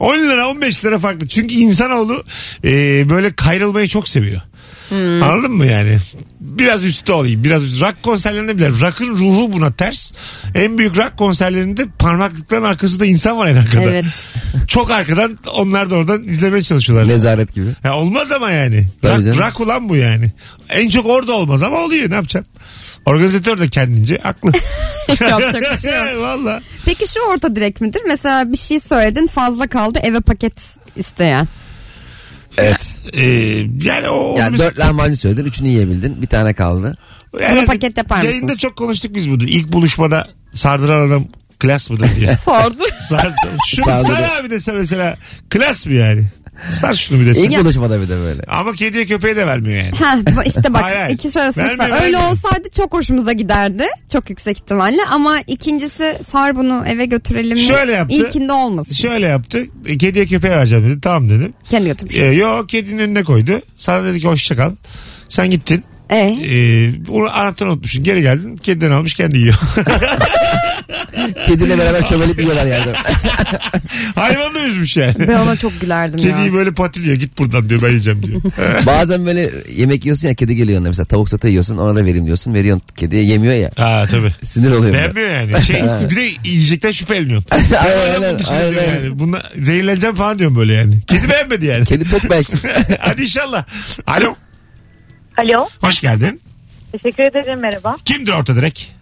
[SPEAKER 2] 10 lira 15 lira farklı. Çünkü insanoğlu e, böyle kayrılmayı çok seviyor. Anladın mı yani? Biraz üstte olayım. Biraz üstte. Rock konserlerinde bile rock'ın ruhu buna ters. En büyük rock konserlerinde parmaklıkların arkasında insan var en arkada.
[SPEAKER 3] Evet.
[SPEAKER 2] Çok arkadan onlar da oradan izlemeye çalışıyorlar.
[SPEAKER 4] Nezaret gibi.
[SPEAKER 2] Ya olmaz ama yani.
[SPEAKER 4] Tabii
[SPEAKER 2] Rak,
[SPEAKER 4] canım.
[SPEAKER 2] rak ulan bu yani. En çok orada olmaz ama oluyor ne yapacaksın? Organizatör de kendince haklı.
[SPEAKER 10] Yapacak bir şey yok.
[SPEAKER 2] Valla.
[SPEAKER 3] Peki şu orta direkt midir? Mesela bir şey söyledin fazla kaldı eve paket isteyen.
[SPEAKER 4] Evet.
[SPEAKER 2] Ee, yani o...
[SPEAKER 4] Yani
[SPEAKER 2] biz-
[SPEAKER 4] dört lahmacun söyledin üçünü yiyebildin bir tane kaldı.
[SPEAKER 2] herhalde
[SPEAKER 3] paket yapar mısınız?
[SPEAKER 2] Yayında çok konuştuk biz bunu. İlk buluşmada sardıran adam klas mıdır diye.
[SPEAKER 10] Sordu.
[SPEAKER 2] sar, şunu
[SPEAKER 4] Sardırıyor.
[SPEAKER 2] sar abi dese mesela klas mı yani? Sar şunu bir dese.
[SPEAKER 4] İlk buluşmada bir de böyle.
[SPEAKER 2] Ama kediye köpeğe de vermiyor yani.
[SPEAKER 3] Ha bu- işte bak
[SPEAKER 2] Hayır, hayır.
[SPEAKER 3] ikisi arasında
[SPEAKER 2] Vermiyor,
[SPEAKER 3] fark- öyle
[SPEAKER 2] vermiyor.
[SPEAKER 3] olsaydı çok hoşumuza giderdi. Çok yüksek ihtimalle ama ikincisi sar bunu eve götürelim. mi?
[SPEAKER 2] Şöyle yaptı.
[SPEAKER 3] İlkinde olmasın.
[SPEAKER 2] Şöyle yaptı. E, Kediye köpeğe vereceğim dedi. Tamam dedim.
[SPEAKER 3] Kendi götürmüş.
[SPEAKER 2] E, yok kedinin önüne koydu. Sana dedi ki hoşça kal. Sen gittin.
[SPEAKER 3] Ee?
[SPEAKER 2] Ee, onu anahtarını unutmuşsun. Geri geldin. Kediden almış kendi yiyor.
[SPEAKER 4] Kediyle beraber çömelip yiyorlar yani.
[SPEAKER 2] Hayvan da üzmüş yani.
[SPEAKER 3] Ben ona çok gülerdim
[SPEAKER 2] e, Kediyi
[SPEAKER 3] ya.
[SPEAKER 2] böyle patiliyor. Git buradan diyor. Ben yiyeceğim diyor.
[SPEAKER 4] Bazen böyle yemek yiyorsun ya kedi geliyor yanına mesela tavuk sote yiyorsun ona da vereyim diyorsun veriyorsun kediye yemiyor ya.
[SPEAKER 2] ha tabii.
[SPEAKER 4] Sinir oluyor. böyle.
[SPEAKER 2] Beğenmiyor yani. Şey, bir de yiyecekten şüpheleniyorum.
[SPEAKER 4] aynen aynen.
[SPEAKER 2] Aynen. Yani. Buna zehirleneceğim falan diyorum böyle yani. Kedi beğenmedi yani.
[SPEAKER 4] Kedi tok belki.
[SPEAKER 2] Hadi inşallah. Alo.
[SPEAKER 9] Alo.
[SPEAKER 2] Hoş geldin.
[SPEAKER 9] Teşekkür ederim merhaba.
[SPEAKER 2] Kimdir orta direk?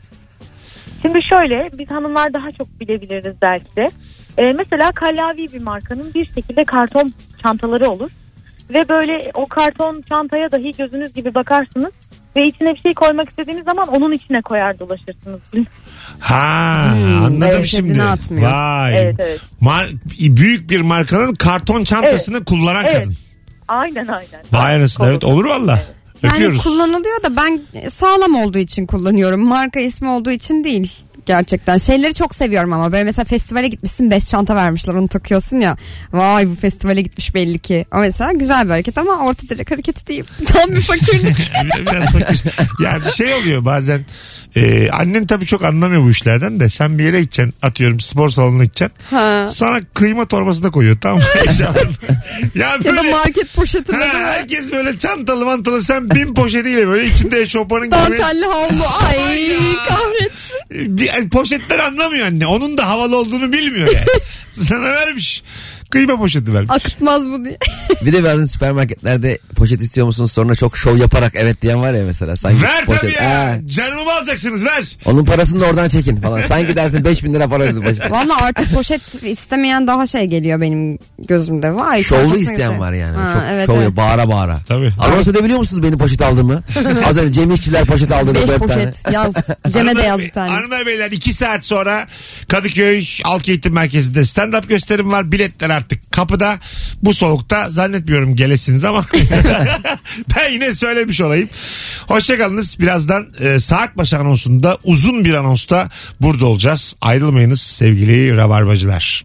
[SPEAKER 9] Şimdi şöyle biz hanımlar daha çok bilebiliriz belki de. Ee, mesela kallavi bir markanın bir şekilde karton çantaları olur. Ve böyle o karton çantaya dahi gözünüz gibi bakarsınız. Ve içine bir şey koymak istediğiniz zaman onun içine koyar dolaşırsınız.
[SPEAKER 2] Ha
[SPEAKER 3] Hmm,
[SPEAKER 2] anladım
[SPEAKER 3] evet,
[SPEAKER 2] şimdi.
[SPEAKER 3] kendini atmıyor.
[SPEAKER 2] Vay.
[SPEAKER 9] evet evet.
[SPEAKER 2] Mar- büyük bir markanın karton çantasını kullanan
[SPEAKER 9] Evet.
[SPEAKER 2] kadın.
[SPEAKER 9] Aynen aynen.
[SPEAKER 2] Vay anasını evet olur valla.
[SPEAKER 3] Yani
[SPEAKER 2] Öpüyoruz.
[SPEAKER 3] kullanılıyor da ben sağlam olduğu için kullanıyorum. Marka ismi olduğu için değil gerçekten. Şeyleri çok seviyorum ama böyle mesela festivale gitmişsin 5 çanta vermişler onu takıyorsun ya. Vay bu festivale gitmiş belli ki. O mesela güzel bir hareket ama orta direk hareketi değil. Tam bir fakirlik.
[SPEAKER 2] Bir- biraz fakir. Ya bir şey oluyor bazen. Ee, annen tabii çok anlamıyor bu işlerden de. Sen bir yere gideceksin. Atıyorum spor salonuna gideceksin.
[SPEAKER 3] ha.
[SPEAKER 2] Sana kıyma torbası da koyuyor tamam mı? ya
[SPEAKER 3] Ya da
[SPEAKER 2] böyle...
[SPEAKER 3] market poşetinde
[SPEAKER 2] Ha,
[SPEAKER 3] de var.
[SPEAKER 2] herkes böyle çantalı mantalı sen bin poşetiyle böyle içinde eşofmanın gibi
[SPEAKER 3] Dantelli havlu. Ay kahretsin.
[SPEAKER 2] E, bir, yani poşetler anlamıyor anne onun da havalı olduğunu bilmiyor yani sana vermiş kıyma poşeti vermiş
[SPEAKER 3] Akıtmaz bu diye.
[SPEAKER 4] Bir de bazen süpermarketlerde poşet istiyor musunuz sonra çok şov yaparak evet diyen var ya mesela. Sanki
[SPEAKER 2] ver
[SPEAKER 4] poşet-
[SPEAKER 2] tabii
[SPEAKER 4] Ha.
[SPEAKER 2] ya canımı mı alacaksınız ver
[SPEAKER 4] Onun parasını da oradan çekin falan. Sanki dersin 5000 lira para ödedi başına.
[SPEAKER 3] Valla artık poşet istemeyen daha şey geliyor benim gözümde. Vay,
[SPEAKER 4] Şovlu
[SPEAKER 3] çantasını
[SPEAKER 4] isteyen
[SPEAKER 3] götür.
[SPEAKER 4] var yani.
[SPEAKER 3] Ha,
[SPEAKER 4] Çok
[SPEAKER 3] evet,
[SPEAKER 4] şov
[SPEAKER 3] evet.
[SPEAKER 4] ya, bağıra bağıra.
[SPEAKER 2] Tabii.
[SPEAKER 4] Anons edebiliyor musunuz benim poşet aldığımı? Az önce Cem İşçiler poşet aldı. da
[SPEAKER 3] Beş
[SPEAKER 4] dört tane.
[SPEAKER 3] poşet yaz. Cem'e de
[SPEAKER 2] Hanımlar
[SPEAKER 3] yaz
[SPEAKER 2] Bey-
[SPEAKER 3] bir tane.
[SPEAKER 2] Hanımlar beyler 2 saat sonra Kadıköy Halk Eğitim Merkezi'nde stand-up gösterim var. Biletler artık kapıda. Bu soğukta zannetmiyorum gelesiniz ama ben yine söylemiş olayım. Hoşçakalınız. Birazdan e, saat başı anonsunda uzun bir anonsta burada olacağız. Ayrılmayınız sevgili rabarbacılar.